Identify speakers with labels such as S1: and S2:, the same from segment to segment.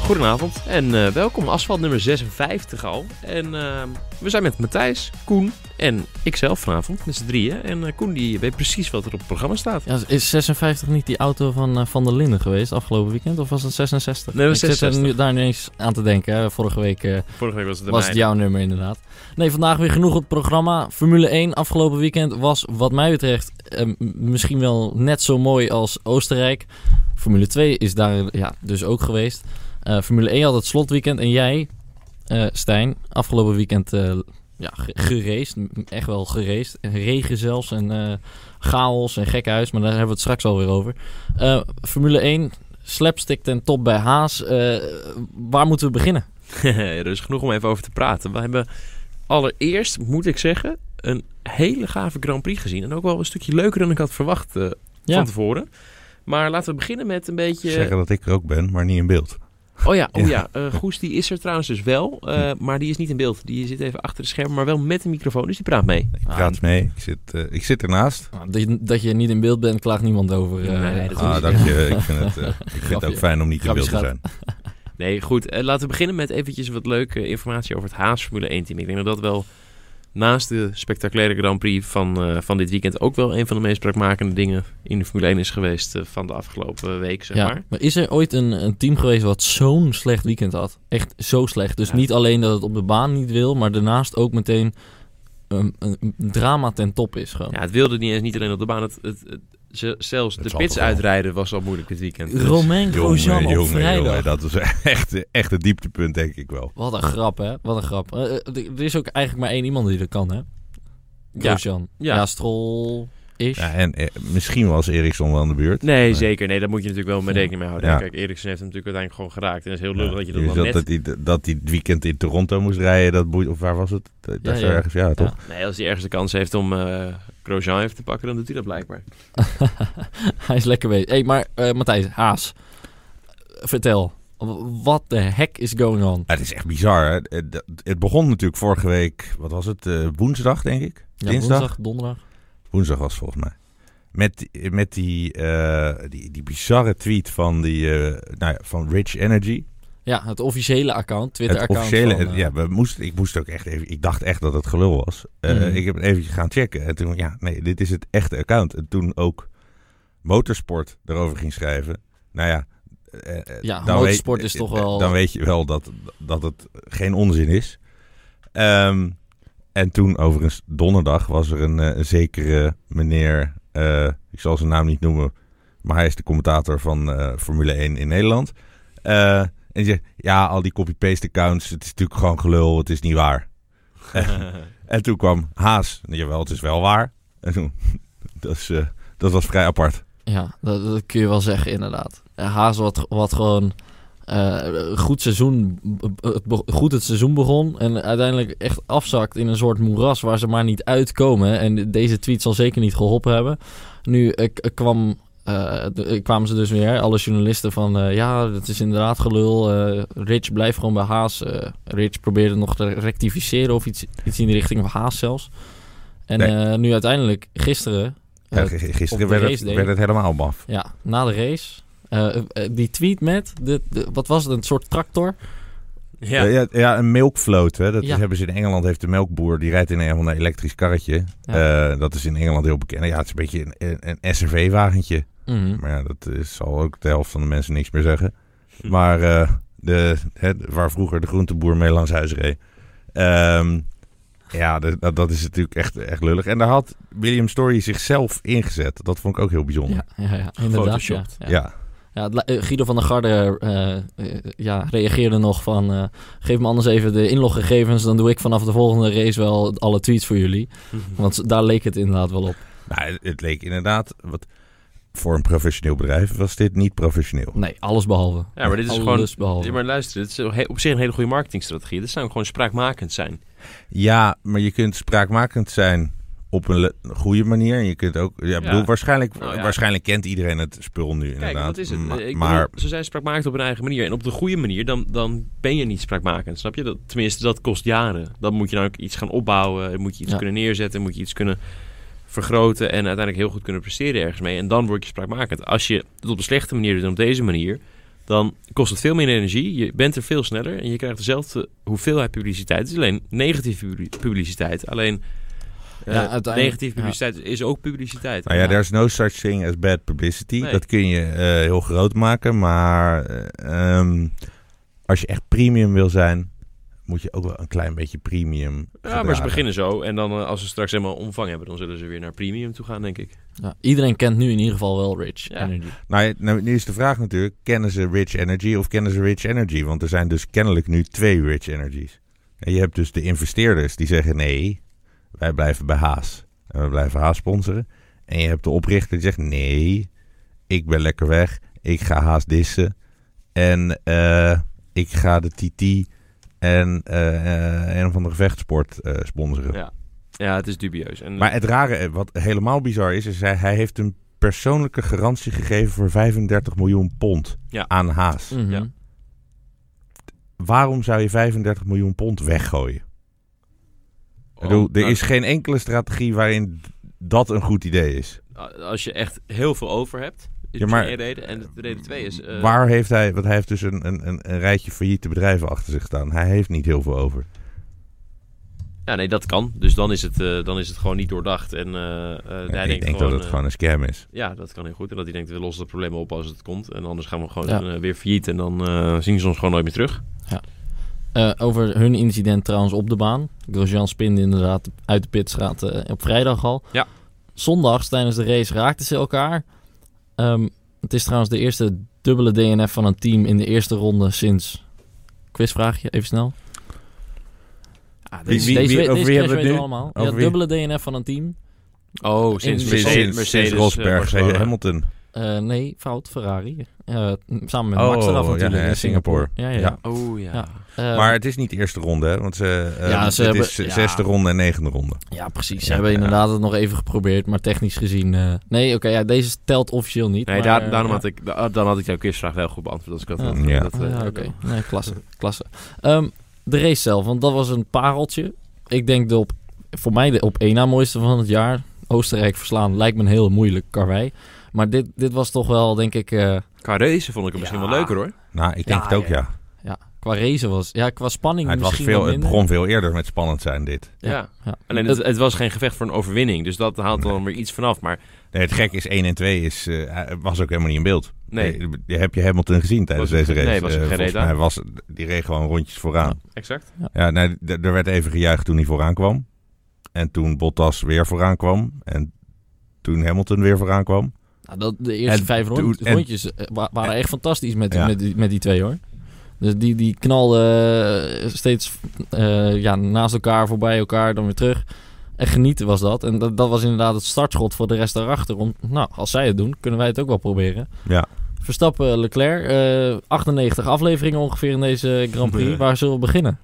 S1: Goedenavond en eh, welkom. Asfalt nummer 56 al. En eh, we zijn met Matthijs, Koen en ikzelf vanavond, met z'n drieën. En eh, Koen die weet precies wat er op het programma staat.
S2: Ja, is 56 niet die auto van eh, Van der Linden geweest afgelopen weekend? Of was het 66?
S1: Nee, dat was
S2: Ik zit er
S1: 66.
S2: nu, daar niet eens aan te denken. Hè. Vorige week eh,
S1: Vorige week was het de
S2: was het jouw nummer inderdaad. Nee, vandaag weer genoeg op het programma. Formule 1 afgelopen weekend was wat mij betreft eh, m- misschien wel net zo mooi als Oostenrijk. Formule 2 is daar ja, dus ook geweest. Eh, Formule 1 had het slotweekend en jij, eh, Stijn, afgelopen weekend eh ja, ge- geraced. M- Echt wel geraced. En regen zelfs en eh, chaos en gekhuis, maar daar hebben we het straks alweer over. Eh, Formule 1, slapstick ten top bij Haas. Eh, waar moeten we beginnen?
S1: er is genoeg om even over te praten. We hebben allereerst, moet ik zeggen, een hele gave Grand Prix gezien. En ook wel een stukje leuker dan ik had verwacht eh,
S2: Ja.
S1: van tevoren. Maar laten we beginnen met een beetje...
S3: Zeggen dat ik er ook ben, maar niet in beeld.
S1: Oh ja, oh
S3: Ja.
S1: ja. eh, Goes die is er trouwens dus wel. eh, maar die is niet in beeld. Die zit even achter de schermen, maar wel met een microfoon. Dus die praat mee.
S3: Ik
S2: Ah.
S3: praat mee, ik zit, eh, ik zit ernaast.
S2: Nou, Dat je, dat je niet in beeld bent, klaagt niemand over. eh,
S1: Nee, dat is-
S3: Ah, dank je. Ik vind het, eh, ik vind het ook
S2: Grapje.
S3: fijn om niet in
S2: Grapje
S3: beeld te
S2: schat.
S3: zijn.
S1: Nee, goed. eh, laten we beginnen met eventjes wat leuke informatie over het Haas Formule 1 team. Ik denk dat dat wel naast de spectaculaire Grand Prix van, eh, van dit weekend... ook wel een van de meest spraakmakende dingen in de Formule 1 is geweest eh, van de afgelopen week, zeg
S2: ja.
S1: maar.
S2: Maar is er ooit een, een team geweest wat zo'n slecht weekend had? Echt zo slecht. Dus
S1: Ja.
S2: niet alleen dat het op de baan niet wil, maar daarnaast ook meteen een, een drama ten top is. Gewoon.
S1: Ja, het wilde niet eens niet alleen op de baan. Het, het, het- ze- zelfs
S3: Het
S1: de
S3: zal
S1: pits
S3: toch wel.
S1: uitrijden was al moeilijk dit weekend. Dus-
S2: Romain Grosjean
S3: Jongen,
S2: op
S3: jongen,
S2: vrijdag.
S3: jongen, dat is echt, echt het dieptepunt, denk ik wel.
S2: Wat een grap, hè? Wat een grap. Eh, eh, d- er is ook eigenlijk maar één iemand die dat kan, hè? Grosjean.
S1: Ja.
S2: Ja, Stroll is.
S3: Ja, en eh, misschien was Eriksson wel aan de beurt.
S1: Nee, zeker. Nee, daar moet je natuurlijk wel mee
S2: Ja.
S1: rekening mee houden.
S3: Ja.
S1: Kijk, Eriksen heeft hem natuurlijk uiteindelijk gewoon geraakt. En het is heel
S3: Ja,
S1: lullig dat je dat
S3: dus
S1: dan
S3: dat,
S1: net...
S3: dat, hij, dat hij het weekend in Toronto moest rijden, dat boeit, of waar was het? Dat
S2: Ja,
S3: is
S2: ja.
S3: ergens, ja, toch?
S1: Nee, als hij ergens de kans heeft om eh Grosjean even te pakken, dan doet hij dat blijkbaar.
S2: Hij is lekker bezig. Hey, maar eh, Matthijs, Haas. Vertel. Wat de heck is going on?
S3: Ja, het is echt bizar. Hè? Eh, dat- Het begon natuurlijk vorige week, wat was het? eh, woensdag, denk ik?
S2: Ja,
S3: Dinsdag?
S2: woensdag, donderdag.
S3: Woensdag was het volgens mij. Met, die- met die, eh, die, die bizarre tweet van, die, eh, nou ja, van Rich Energy.
S2: Ja, het officiële account,
S3: Het
S2: Twitter-account.
S3: officiële.
S2: van, eh,
S3: ja, we moesten, ik moest ook echt even. Ik dacht echt dat het gelul was. Eh,
S2: Mhm.
S3: Ik heb het even gaan checken. En toen, ja, nee, dit is het echte account. En toen ook Motorsport erover ging schrijven. Nou ja. eh, eh,
S2: Ja,
S3: dan
S2: motorsport
S3: weet-
S2: is toch
S3: eh,
S2: wel-
S3: Dan weet je wel dat, dat het geen onzin is. Ehm, en toen, overigens, donderdag was er een eh, zekere meneer. eh, ik zal zijn naam niet noemen. Maar hij is de commentator van eh, Formule 1 in Nederland. Eh, en die zegt, ja, al die copy-paste accounts, het is natuurlijk gewoon gelul, het is niet waar. en toen kwam Haas, jawel, het is wel waar. En toen, dat, is, eh, dat was vrij apart.
S2: Ja, dat, dat kun je wel zeggen, inderdaad. Eh, Haas wat, wat gewoon eh, goed, seizoen, het be- goed het seizoen begon en uiteindelijk echt afzakt in een soort moeras waar ze maar niet uitkomen. En deze tweet zal zeker niet geholpen hebben. Nu eh, k- kwam, eh, de- eh, kwamen ze dus weer, alle journalisten, van eh, ja, dat is inderdaad gelul. eh, Rich blijft gewoon bij Haas. Eh, Rich probeerde nog te rectificeren of iets, iets in de richting van Haas zelfs. En
S3: Nee.
S2: eh, nu uiteindelijk, gisteren... eh,
S3: Eh, g- gisteren
S2: op de
S3: werd het,
S2: race day.
S3: werd het helemaal maf.
S2: ja, na de race. eh, eh, die tweet met, de, de- wat was het, een soort tractor?
S3: Ja.
S1: Ja,
S3: Eh, Ja, een milkfloat. Hè? Dat is-
S2: Ja.
S3: hebben ze in Engeland. Heeft de melkboer die rijdt in Engeland een elektrisch karretje. Eh, dat is in Engeland heel bekend. Ja, het is een beetje een, een, een SRV-wagentje.
S2: Mhm.
S3: Maar ja, dat is, zal ook de helft van de mensen niks meer zeggen.
S2: Hm.
S3: Maar eh, de, hè, waar vroeger de groenteboer mee langs huis reed. Ehm, ja, de- dat, dat is natuurlijk echt, echt lullig. En daar had William Story zichzelf ingezet. Dat vond ik ook heel bijzonder.
S2: Ja, ja, ja, inderdaad. Ja,
S1: Photoshopt.
S2: ja.
S3: Ja,
S2: Ja, het li- eh, Guido van der Garde eh, eh, ja, reageerde nog van... eh, geef me anders even de inloggegevens, dan doe ik vanaf de volgende race wel alle tweets voor jullie. Want z- daar leek het inderdaad wel op.
S3: Nou, het- het leek inderdaad... Wat, voor een professioneel bedrijf was dit niet professioneel.
S2: Nee, alles behalve.
S1: Ja, maar dit is
S2: alles
S1: gewoon-
S2: behalve.
S1: Ja, maar luister, het is he- op zich een hele goede marketingstrategie. Dat zou hem gewoon spraakmakend zijn.
S3: Ja, maar je kunt spraakmakend zijn op een le- goede manier. En je kunt ook... Ja, ik
S1: Ja.
S3: bedoel, waarschijnlijk,
S1: Nou ja.
S3: waarschijnlijk kent iedereen het spul nu inderdaad.
S1: Kijk, dat is het.
S3: Ma-
S1: Eh, ik
S3: maar
S1: bedoel, ze zijn spraakmakend op hun eigen manier. En op de goede manier, dan, dan ben je niet spraakmakend, snap je? Dat, tenminste, dat kost jaren. Dan moet je dan ook iets gaan opbouwen. Dan moet je iets
S2: Ja.
S1: kunnen neerzetten. Moet je iets kunnen vergroten. En uiteindelijk heel goed kunnen presteren ergens mee. En dan word je spraakmakend. Als je het op de slechte manier doet, en op deze manier... dan kost het veel minder energie. Je bent er veel sneller en je krijgt dezelfde hoeveelheid publiciteit. Het is alleen negatieve publi- publiciteit. Alleen eh,
S2: Ja, uiteindelijk-
S1: negatieve publiciteit is ook publiciteit.
S3: Nou ja,
S2: Ja.
S3: there's no such thing as bad publicity.
S1: Nee.
S3: Dat kun je eh, heel groot maken, maar eh, ehm, als je echt premium wil zijn, moet je ook wel een klein beetje premium.
S1: Ja, maar ze
S3: gedragen.
S1: beginnen zo. En dan eh, als ze straks helemaal omvang hebben, dan zullen ze weer naar premium toe gaan, denk ik.
S2: Ja, iedereen kent nu in ieder geval wel Rich
S1: Ja.
S2: Energy.
S3: Nou, ja, nou, nu is de vraag natuurlijk: kennen ze Rich Energy of kennen ze Rich Energy? Want er zijn dus kennelijk nu twee Rich Energies. En je hebt dus de investeerders die zeggen: nee, wij blijven bij Haas. En we blijven Haas sponsoren. En je hebt de oprichter die zegt: nee, ik ben lekker weg. Ik ga Haas dissen. En eh, ik ga de TT en eh, eh, een of andere vechtsport eh, sponsoren.
S1: Ja. Ja, het is dubieus. En
S3: Maar het rare, eh, wat helemaal bizar is, is hij, hij heeft een persoonlijke garantie gegeven voor 35 miljoen pond
S1: Ja. Mm.
S3: aan Haas.
S2: Mhm.
S1: Ja.
S3: Waarom zou je 35 miljoen pond weggooien?
S1: oh,
S3: Ik bedoel, er
S1: nou,
S3: is geen enkele strategie waarin d- dat een goed idee is.
S1: eh, Als je echt heel veel over hebt, is
S3: Ja,
S1: ja,
S3: maar-
S1: één reden. En de reden twee is... eh,
S3: Waar heeft hij, want hij heeft dus een, een, een, een rijtje failliete bedrijven achter zich staan. Hij heeft niet heel veel over.
S1: Ja, nee, dat kan. Dus dan is het, eh, dan is het gewoon niet doordacht. En eh, eh,
S3: En
S1: hij
S3: ik
S1: denkt
S3: denk
S1: gewoon...
S3: dat het
S1: eh,
S3: gewoon een scam is.
S1: Ja, dat kan heel goed. En dat hij denkt, we lossen het probleem op als het komt. En anders gaan we gewoon
S2: Ja.
S1: eh, weer failliet. En dan eh, zien ze ons gewoon nooit meer terug.
S2: Eh, over hun incident trouwens op de baan. Grosjean spinde inderdaad uit de pitstraat eh, op vrijdag al.
S1: Ja.
S2: Zondags tijdens de race raakten ze elkaar. Ehm, het is trouwens de eerste dubbele DNF van een team in de eerste ronde sinds... Quizvraagje, even snel.
S3: Wie- wie-
S2: deze
S3: wie-
S2: we- deze
S3: over wie
S2: crash
S3: hebben we het
S2: weten
S3: nu?
S2: we allemaal.
S3: Over
S2: Ja,
S3: wie?
S2: dubbele DNF van een team.
S1: Oh,
S2: sinds-
S1: sinds
S2: sinds-
S1: Mercedes,
S3: Sinds, sinds Rosberg,
S1: eh, Barcelona.
S3: Hamilton.
S2: Eh, nee, fout, Ferrari. Eh, samen met
S3: Oh,
S2: Max eraf
S3: ja,
S2: natuurlijk
S3: ja,
S2: in Singapore.
S3: Singapore.
S2: Ja, ja.
S1: Oh ja.
S2: Ja. Eh,
S3: Maar het is niet de eerste ronde, hè? want ze, eh,
S2: Ja, ze
S3: het
S2: hebben-
S3: is
S2: ja.
S3: zesde ronde en negende ronde.
S2: Ja, precies. Ze
S3: Ja,
S2: hebben
S3: ja.
S2: inderdaad het nog even geprobeerd, maar technisch gezien... eh, nee, oké, ja, deze telt officieel niet.
S1: Nee,
S2: maar,
S1: daar,
S2: eh,
S1: daarom
S2: ja.
S1: had ik, da- dan had ik jouw quizvraag wel goed beantwoord. Als ik dat had.
S3: Ja.
S1: Dat, eh,
S2: Ah, ja, oké. Nee, klasse. klasse. Ehm, de race zelf, want dat was een pareltje. Ik denk de op, voor mij de op één na mooiste van het jaar. Oostenrijk verslaan lijkt me een heel moeilijk karwei. Maar dit, dit was toch wel, denk ik... eh,
S1: Qua race vond ik het misschien
S2: Ja.
S1: wel leuker hoor.
S3: Nou, ik denk
S2: Ja,
S3: het ook,
S2: ja.
S3: ja.
S2: qua race was... Ja, qua spanning
S3: Ja, het, was
S2: misschien
S3: veel,
S2: wel
S3: het
S2: minder.
S3: begon veel eerder met spannend zijn, dit.
S1: Ja.
S2: Ja.
S1: Alleen het, het was geen gevecht voor een overwinning. Dus dat haalt dan weer iets vanaf. Maar
S3: Nee, het gekke is, 1 en 2 is, eh, was ook helemaal niet in beeld. Eh,
S1: nee,
S3: je heb je Hamilton gezien tijdens
S1: Was-
S3: deze race?
S1: nee, was er
S3: Eh,
S1: geen
S3: volgens
S1: reet aan.
S3: mij was, die reed gewoon rondjes vooraan.
S1: exact.
S3: Ja, nee, d- er werd even gejuicht toen hij vooraan kwam. En toen Bottas weer vooraan kwam. En toen Hamilton weer vooraan kwam.
S2: Nou, dat, de eerste
S3: En
S2: vijf rond-
S3: toen- en-
S2: rondjes eh, wa- waren echt fantastisch met,
S3: Ja.
S2: met, die, met die twee hoor. Dus die, die knalden eh, steeds eh, ja, naast elkaar, voorbij elkaar, dan weer terug. En genieten was dat. En dat, dat was inderdaad het startschot voor de rest daarachter. Om, nou, als zij het doen, kunnen wij het ook wel proberen.
S3: Ja.
S2: Verstappen, Leclerc. eh, 98 afleveringen ongeveer in deze Grand Prix. Waar zullen we beginnen?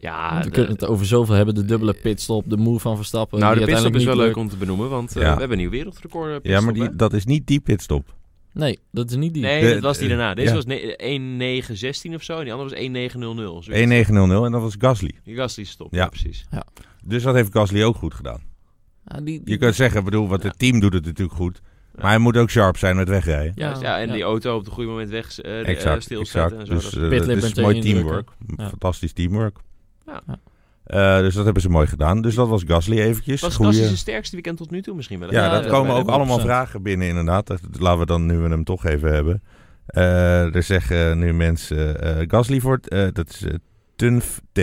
S1: Ja,
S2: we
S1: Ah, de-
S2: kunnen het over zoveel hebben. De dubbele pitstop, de move van Verstappen.
S1: nou, de
S2: die
S1: pitstop
S2: uiteindelijk
S1: is wel
S2: niet
S1: leuk
S2: lukt.
S1: om te benoemen. Want eh,
S3: Ja.
S1: we hebben een nieuw wereldrecord. eh,
S3: ja,
S1: pitstop,
S3: maar die,
S1: hè?
S3: dat is niet die pitstop.
S2: Nee, dat is niet die.
S1: Nee,
S3: De- eh,
S1: dat was die daarna. Deze
S3: ja.
S1: was ne- 1916 of zo. En die andere was 1900.
S3: 1900 en dat was Gasly.
S1: Dus Die gast die stopt.
S3: Ja.
S1: Ja, precies.
S3: Dus dat heeft Gasly ook goed gedaan.
S2: Ja, Ah, die, die-
S3: Je kunt zeggen, ik bedoel, wat het team doet het natuurlijk goed. Maar hij moet ook sharp zijn met wegrijden.
S1: Ja, ja en die auto op de goede moment weg eh, eh,
S3: Exact,
S1: stilzetten
S3: exact.
S1: en zo.
S3: Dus
S1: dat-
S3: eh,
S2: Pitlip
S3: dat is
S2: meteen
S3: mooi
S2: indrukken.
S3: teamwork.
S2: Ja.
S3: Fantastisch teamwork.
S1: Ja.
S2: Ja.
S3: Eh, dus dat hebben ze mooi gedaan. Dus dat was Gasly eventjes.
S1: was
S3: Goeie-
S1: Gasly zijn sterkste weekend tot nu toe misschien wel.
S3: Ja,
S2: Ja,
S3: dat
S2: ja,
S3: komen
S2: bij
S3: ook
S2: de
S3: allemaal
S2: 100%.
S3: vragen binnen inderdaad. Dat, dat laten we dan, nu we hem toch even hebben. Eh, er zeggen nu mensen eh Gasly voor het, eh, dat is eh, Tunf T.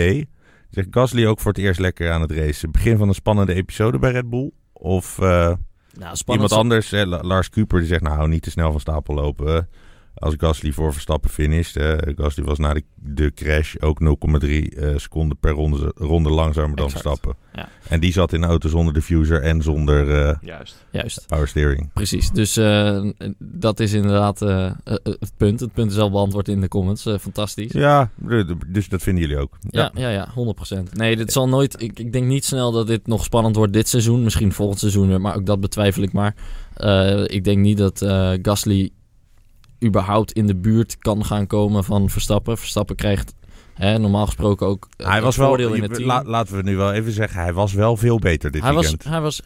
S3: Zegt Gasly ook voor het eerst lekker aan het racen. Begin van een spannende episode bij Red Bull. Of eh,
S2: Nou, spannend.
S3: iemand anders, hè, La- Lars Cooper, die zegt nou niet te snel van stapel lopen. Als Gasly voor Verstappen finisht. eh, Gasly was na de, de crash ook 0,3 eh, seconden per ronde, ronde langzamer dan
S2: Exact.
S3: Verstappen.
S2: Ja.
S3: En die zat in een auto zonder diffuser en zonder eh,
S1: Juist.
S2: Juist,
S3: power steering.
S2: precies. Dus eh, dat is inderdaad eh, eh, het punt. Het punt is al beantwoord in de comments. Eh, fantastisch. Ja.
S3: Ja, d- d- dus dat vinden jullie ook.
S2: Ja, ja, 100%. Nee, dit zal nooit. Ik, ik denk niet snel dat dit nog spannend wordt dit seizoen. Misschien volgend seizoen weer, maar ook dat betwijfel ik maar. Eh, ik denk niet dat eh, Gasly überhaupt in de buurt kan gaan komen van Verstappen. Verstappen krijgt hè, normaal gesproken ook eh,
S3: Hij
S2: het
S3: was wel,
S2: voordeel in het
S3: je-
S2: team.
S3: la- laten we nu wel even zeggen, hij was wel veel beter dit
S2: hij, was,
S3: weekend.
S2: hij was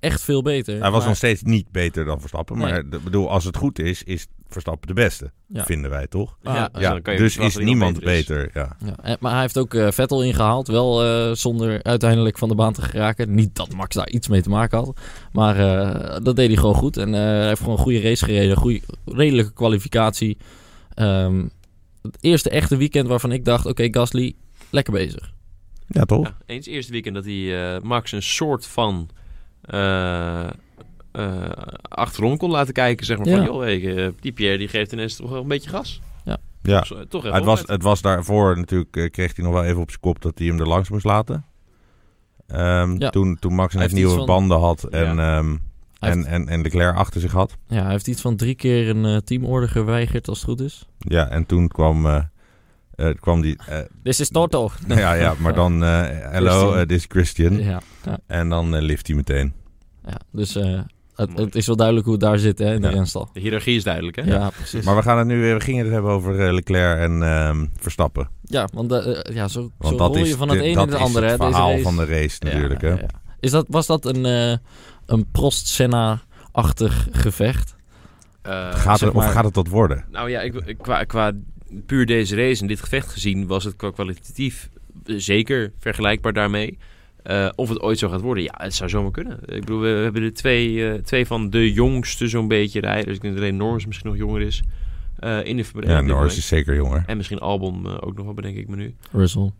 S2: echt veel beter.
S3: hij was
S2: maar-
S3: nog steeds niet beter dan Verstappen. Maar
S2: Nee.
S3: ik bedoel, als het goed is, is Verstappen de beste,
S2: Ja.
S3: vinden wij toch?
S2: Ja.
S1: dus
S3: ja,
S1: dan kan je
S3: dus is
S1: verwachten dat hij nog
S3: niemand
S1: is.
S3: beter. ja.
S2: Ja, en- maar hij heeft ook eh, Vettel ingehaald. Wel eh, zonder uiteindelijk van de baan te geraken. Niet dat Max daar iets mee te maken had. Maar eh, dat deed hij gewoon goed. En eh, hij heeft gewoon een goede race gereden. Goede, redelijke kwalificatie. Ehm, het eerste echte weekend waarvan ik dacht... Oké, Gasly, lekker bezig.
S3: Ja, toch?
S1: Ja, eens eerste weekend dat hij eh, Max een soort van eh, eh, achterom kon laten kijken. Zeg maar
S2: Ja.
S1: van, joh, hey, eh, die Pierre die geeft ineens toch wel een beetje gas.
S3: Ja.
S1: Dus, eh, toch even
S3: Het was,
S1: opletten.
S3: het was daarvoor natuurlijk, eh, kreeg hij nog wel even op zijn kop dat hij hem er langs moest laten. Ehm,
S2: Ja.
S3: toen, toen Max net
S2: heeft iets
S3: nieuwe
S2: van-
S3: banden had en, ehm,
S2: Hij
S3: en,
S2: heeft-
S3: en, en Leclerc achter zich had.
S2: Ja, hij heeft iets van drie keer een eh, teamorder geweigerd als het goed is.
S3: Ja, en toen kwam, eh, eh, kwam die... eh,
S2: Dit is Toto.
S3: nou ja, ja, maar dan... eh, Hello,
S2: Christian.
S3: eh, this is Christian.
S2: Ja, ja,
S3: En dan eh, lift hij meteen.
S2: ja. dus eh, het, het is wel duidelijk hoe het daar zit hè, in de
S3: Ja.
S2: renstal.
S1: De hiërarchie is duidelijk, hè?
S2: Ja, precies.
S3: Maar we, gaan het nu, weer- we gingen het hebben over eh, Leclerc en ehm, Verstappen.
S2: Ja, want eh, eh, ja, zo,
S3: Want
S2: zo
S3: dat
S2: rol je
S3: is,
S2: van het
S3: dit-
S2: een
S3: dat
S2: in het
S3: is
S2: andere.
S3: het
S2: hè, deze
S3: verhaal
S2: race.
S3: van de race
S2: Ja,
S3: natuurlijk.
S2: ja,
S3: hè?
S2: ja. Is dat, was dat een, eh, een Prost-Senna-achtig gevecht?
S1: Eh,
S3: Gaat
S2: Zeg
S3: het, of
S2: maar-
S3: gaat het dat worden?
S1: Nou ja, ik, ik- qua, qua puur deze race en dit gevecht gezien was het qua kwalitatief eh, zeker vergelijkbaar daarmee. Eh, of het ooit zo gaat worden, ja, het zou zomaar kunnen. Ik bedoel, we, we hebben er twee, eh, twee van de jongste zo'n beetje rijden. Dus ik denk dat alleen Norris misschien nog jonger is eh, in de Formule
S3: Ja,
S1: 1 op dit
S3: Norris
S1: moment.
S3: is zeker jonger.
S1: En misschien Albon eh, ook nog wel, bedenk ik me nu.
S2: Russell.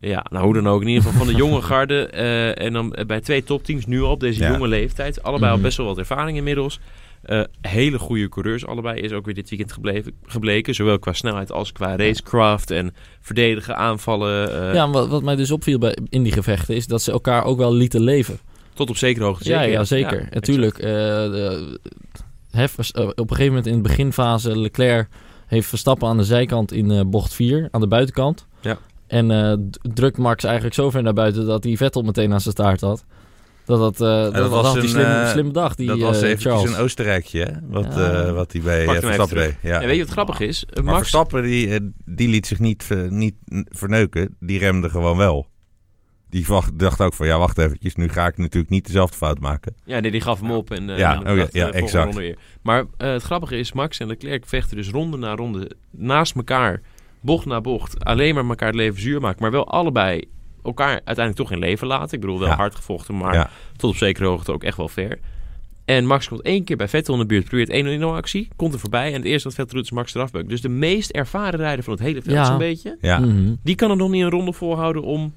S1: Ja, nou hoe dan ook. In ieder geval van de jonge garde. eh, en dan eh, bij twee topteams nu al op deze
S3: Ja.
S1: jonge leeftijd. Allebei al
S2: Mhm.
S1: best wel wat ervaring inmiddels. Eh, hele goede coureurs allebei. Is ook weer dit weekend gebleven, gebleken. Zowel qua snelheid als qua racecraft. En verdedigen, aanvallen. eh,
S2: ja, en wat, wat mij dus opviel bij, in die gevechten is dat ze elkaar ook wel lieten leven.
S1: Tot op zekere hoogte.
S2: ja, ja, zeker.
S1: exact.
S2: Natuurlijk. eh, de- Hef was, eh, op een gegeven moment in de beginfase, Leclerc heeft Verstappen aan de zijkant in eh, bocht 4, aan de buitenkant.
S1: Ja.
S2: En eh, d- drukt Max eigenlijk zo ver naar buiten dat hij Vettel meteen aan zijn staart had. Dat, dat, eh, dat,
S3: dat
S2: dat
S3: was
S2: had hij
S3: een,
S2: slim,
S3: eh,
S2: slim bedacht, die
S3: dat was
S2: eh,
S3: eventjes
S2: Charles.
S3: een Oostenrijkje, hè? Wat,
S2: Ja.
S3: eh, wat hij bij
S1: Pak
S3: eh,
S1: hem even
S3: Verstappen deed. Ja.
S1: En weet je wat grappig is? Eh,
S3: Maar
S1: Max,
S3: Verstappen, die, eh, die liet zich niet, eh, niet n- verneuken. Die remde gewoon wel. Die wacht- dacht ook van, ja, wacht eventjes. Nu ga ik natuurlijk niet dezelfde fout maken.
S1: Ja, nee, die gaf hem op. En, eh,
S3: Ja,
S1: en
S3: oké,
S1: inderdaad,
S3: ja,
S1: eh, volgende
S3: exact.
S1: ronde weer. Maar eh, het grappige is, Max en Leclerc vechten dus ronde na ronde naast elkaar, bocht na bocht, alleen maar elkaar het leven zuur maken. Maar wel allebei elkaar uiteindelijk toch in leven laten. Ik bedoel, wel
S3: Ja.
S1: hard gevochten, maar
S3: Ja.
S1: tot op zekere hoogte ook echt wel ver. En Max komt één keer bij Vettel in de buurt, probeert 1-0 actie, komt er voorbij. En het eerste wat Vettel doet is Max eraf beukt. Dus de meest ervaren rijder van het hele veld
S2: Ja.
S1: zo'n beetje,
S3: Ja.
S2: Mhm.
S1: die kan hem nog niet een ronde volhouden om...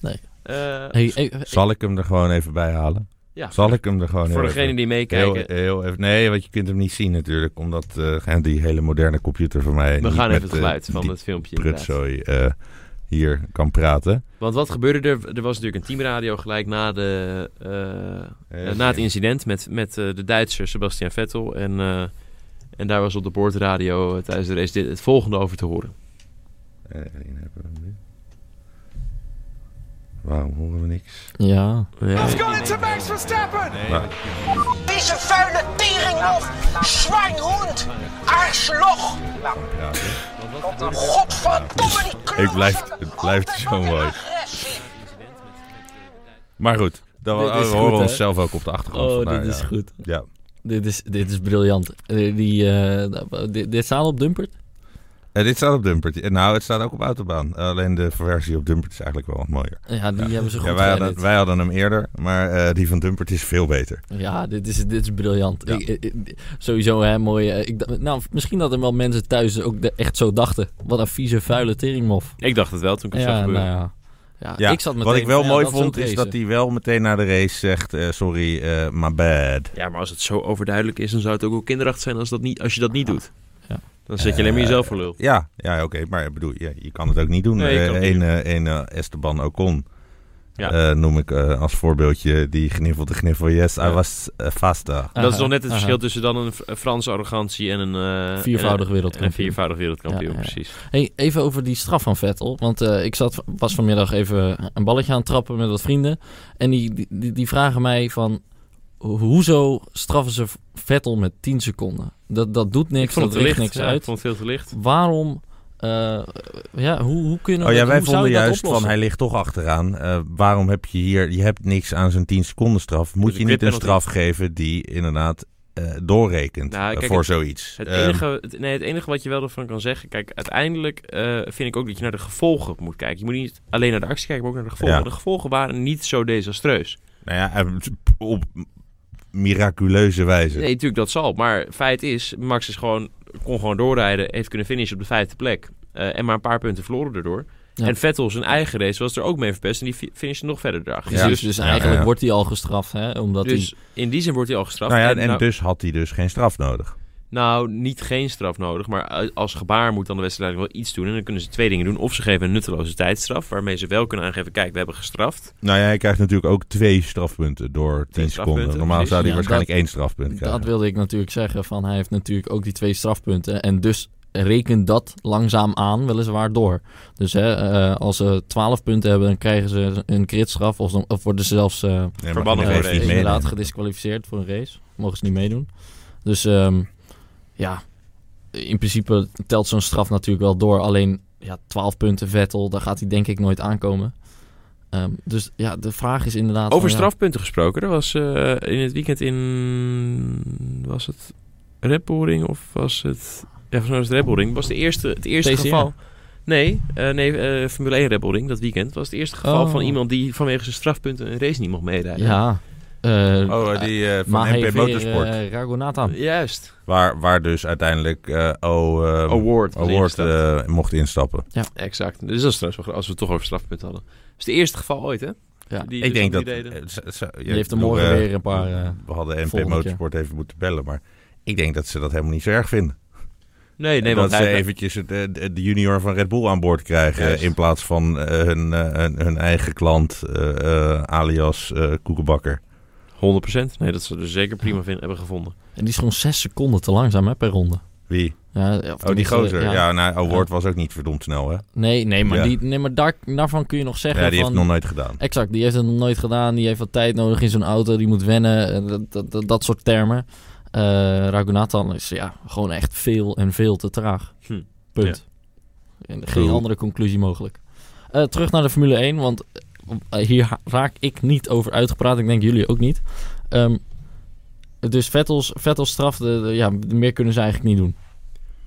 S2: Nee.
S1: eh,
S2: Hey, hey,
S3: Zal ik hem er gewoon even bij halen?
S1: ja,
S3: Zal ik hem er gewoon
S1: voor
S3: heel
S1: degene
S3: even-
S1: die meekijken.
S3: Heel, heel even, nee, want je kunt hem niet zien natuurlijk. Omdat eh, die hele moderne computer van mij...
S1: we
S3: niet
S1: gaan
S3: met,
S1: even het
S3: eh,
S1: geluid van
S3: die
S1: het filmpje inderdaad.
S3: prutzooi eh, hier kan praten.
S1: Want wat gebeurde er? Er was natuurlijk een teamradio gelijk na, de, eh, eh, na het incident met, met eh, de Duitser Sebastian Vettel. En, eh, en daar was op de boordradio eh, tijdens de race dit, het volgende over te horen.
S3: Eh, één hebben we nu. Waarom horen we niks?
S2: ja.
S4: I've gone into Max Verstappen!
S3: Nou,
S5: Vieze vuile teringhof, zwijnhond, arsloch. Nou,
S3: ja,
S5: godverdomme die kleur.
S3: Ik blijf- het blijft zo mooi. maar goed, dan
S2: Dit
S3: we
S2: is
S3: we horen
S2: goed, hè?
S3: onszelf ook op de achtergrond.
S2: Oh,
S3: vandaar,
S2: dit is
S3: ja.
S2: goed.
S3: Ja.
S2: Dit is, dit is briljant. Eh, Die, eh, dit, dit staat op Dumpert?
S3: Eh, dit staat op Dumpert. Eh, Nou, het staat ook op Autobaan. Eh, Alleen de versie op Dumpert is eigenlijk wel wat mooier.
S2: Ja, die hebben ze goed
S3: Ja, wij, hadden,
S2: geëdit.
S3: wij hadden hem eerder, maar eh, die van Dumpert is veel beter.
S2: Ja, dit is, dit is briljant.
S3: Ja.
S2: Ik- ik- ik- sowieso, hè, mooi. eh, Ik, dacht- nou, misschien dat er wel mensen thuis ook de- echt zo dachten. Wat een vieze, vuile teringmof.
S1: Ik dacht het wel toen ik het zag
S2: Ja, nou
S1: gebeuren.
S2: ja. Ja,
S3: Ja,
S2: ik zat meteen
S3: wat ik wel
S2: van, ja,
S3: mooi
S2: dat
S3: vond,
S2: ook
S3: is dat
S2: racen.
S3: hij wel meteen na de race zegt... eh, sorry, eh, my bad.
S1: Ja, maar als het zo overduidelijk is, dan zou het ook wel kinderachtig zijn als, dat niet, als je dat niet doet.
S2: Ja.
S1: Dan zet je alleen maar
S3: Eh,
S1: jezelf voor lul.
S3: Ja, ja oké, maar ik bedoel, ja, je kan het ook niet doen.
S1: Nee, je
S3: Eh,
S1: kan het
S3: Eén
S1: niet
S3: eh, één, eh, Esteban Ocon
S1: Ja.
S3: eh, noem ik eh, als voorbeeldje. Die gniffelde gniffel, yes, I
S1: Ja. Nou,
S3: was eh, faster.
S1: dat is
S2: Aha,
S1: nog net het
S2: aha.
S1: verschil tussen dan een F- een Franse arrogantie en een... eh,
S2: eh. Viervoudig
S1: en een-
S2: wereldkampioen.
S1: en een viervoudig wereldkampioen,
S2: Ja, ja.
S1: precies.
S2: Hey, even over die straf van Vettel. Want eh, ik zat, was vanmiddag even een balletje aan het trappen met wat vrienden. En die, die- die, die vragen mij van... ho- Hoezo straffen ze Vettel met 10 seconden? Dat, dat doet niks,
S1: Ik vond
S2: dat
S1: het te
S2: richt
S1: licht.
S2: niks
S1: Ja, ik
S2: uit.
S1: vond het veel te licht.
S2: Waarom... eh, ja, hoe, hoe kunnen
S3: Oh
S2: we
S3: ja, wij
S2: hoe zou
S3: vonden
S2: je dat
S3: juist van
S2: oplossen?
S3: hij ligt toch achteraan. Eh, waarom heb je hier, je hebt niks aan zijn 10 seconden straf. Moet
S1: Dus
S3: je
S1: een
S3: niet een
S1: quit penalty.
S3: straf geven die inderdaad eh, doorrekent
S1: Nou,
S3: eh,
S1: kijk,
S3: voor
S1: het-
S3: zoiets.
S1: Het
S3: Ehm,
S1: enige, het- nee, het enige wat je wel ervan kan zeggen... Kijk, uiteindelijk eh, vind ik ook dat je naar de gevolgen moet kijken. Je moet niet alleen naar de actie kijken, maar ook naar de gevolgen.
S3: Ja.
S1: De gevolgen waren niet zo desastreus.
S3: nou ja, eh, op miraculeuze wijze.
S1: Nee, natuurlijk, dat zal. Maar feit is, Max is gewoon, kon gewoon doorrijden. Heeft kunnen finishen op de vijfde plek. eh, en maar een paar punten verloren daardoor.
S2: Ja.
S1: En Vettel zijn eigen race was er ook mee verpest. En die fi- finishte nog verder erachter.
S2: Precies,
S1: Dus,
S2: dus
S3: Ja,
S2: eigenlijk
S3: ja.
S2: wordt hij al gestraft, hè? Omdat hij...
S1: dus in die zin wordt hij al gestraft.
S3: nou ja, en,
S1: nou-
S3: dus had hij dus geen straf nodig.
S1: Nou, niet geen straf nodig. Maar eh, als gebaar moet dan de wedstrijd wel iets doen. En dan kunnen ze twee dingen doen. Of ze geven een nutteloze tijdstraf. Waarmee ze wel kunnen aangeven: kijk, we hebben gestraft.
S3: Nou ja, hij krijgt natuurlijk ook twee strafpunten door
S1: Twee
S3: 10 seconden.
S1: strafpunten,
S3: Normaal zou hij
S2: precies. Ja,
S3: waarschijnlijk
S2: dat-
S3: één strafpunt krijgen.
S2: Dat wilde ik natuurlijk zeggen. Van hij heeft natuurlijk ook die twee strafpunten. En dus rekent dat langzaam aan, weliswaar door. Dus hè, eh, als ze 12 punten hebben, dan krijgen ze een critstraf. Of, dan- of worden ze zelfs eh,
S3: Nee, maar
S1: Verbannen
S3: hij
S1: voor
S3: geeft
S1: deze.
S3: niet mee.
S2: inderdaad gedisqualificeerd voor een race. Mogen ze niet meedoen. Dus ehm, ja, in principe telt zo'n straf natuurlijk wel door. Alleen ja, 12 punten Vettel, daar gaat hij denk ik nooit aankomen. Ehm, dus ja, de vraag is inderdaad...
S1: Over
S2: van, ja,
S1: strafpunten gesproken. Er was eh, in het weekend in. Was het Red Bull Ring of was het. Ja, volgens mij was het Red Bull Ring. Was de eerste, het eerste
S2: TCR.
S1: geval. Nee, eh, nee eh, Formule 1 Red Bull Ring dat weekend. Was het eerste geval
S2: Oh.
S1: van iemand die vanwege zijn strafpunten een race niet mocht meerijden.
S2: Ja, eh,
S3: Oh, eh, die eh, van
S2: Maar
S3: MP Motorsport.
S2: eh, Ragonata.
S1: Juist.
S3: waar, waar dus uiteindelijk eh O eh,
S1: Award. was
S3: Award
S1: ingesteld.
S3: eh, mocht instappen.
S1: Exact. Dus dat is trouwens wel gra- als we het toch over strafpunten hadden. Dat is het eerste geval ooit, hè?
S2: Ja.
S1: Die-
S3: ik
S1: dus
S3: denk
S1: die
S3: dat...
S1: deden.
S3: eh, z- z-
S2: Die
S3: ja,
S2: heeft er
S3: ik bedoel,
S2: morgen
S3: eh,
S2: weer een paar. eh,
S3: We hadden MP
S2: volgende
S3: Motorsport even moeten bellen, maar ik denk dat ze dat helemaal niet zo erg vinden.
S1: Nee, nee, want
S3: dat ze
S1: hij...
S3: eventjes het, eh, de de junior van Red Bull aan boord krijgen
S1: Juist.
S3: in plaats van eh, hun, eh, hun, hun eigen klant eh, eh, alias eh, Koekenbakker.
S1: 100%. Nee, dat ze er zeker prima vinden, hebben gevonden.
S2: en die is gewoon zes seconden te langzaam hè, per ronde.
S3: Wie?
S2: Ja, of
S3: Oh, die
S2: tenminste,
S3: gozer. Ja, nou, Award
S2: Ja.
S3: was ook niet verdomd snel, hè?
S2: Nee, nee, maar,
S3: Ja.
S2: die, nee, maar daar, daarvan kun je nog zeggen.
S3: Ja, die heeft
S2: van,
S3: het nog nooit gedaan.
S2: Exact, die heeft het nog nooit gedaan. Die heeft wat tijd nodig in zijn auto. Die moet wennen. eh, Dat, dat, dat, dat soort termen. Eh Raghunathan is ja, gewoon echt veel en veel te traag.
S1: Hm.
S2: Punt. En geen
S3: Cool.
S2: andere conclusie mogelijk. Eh, terug naar de Formule 1, want eh, hier ha- raak ik niet over uitgepraat. Ik denk jullie ook niet. Ehm, dus Vettels, Vettels straf, de, de- ja, meer kunnen ze eigenlijk niet doen.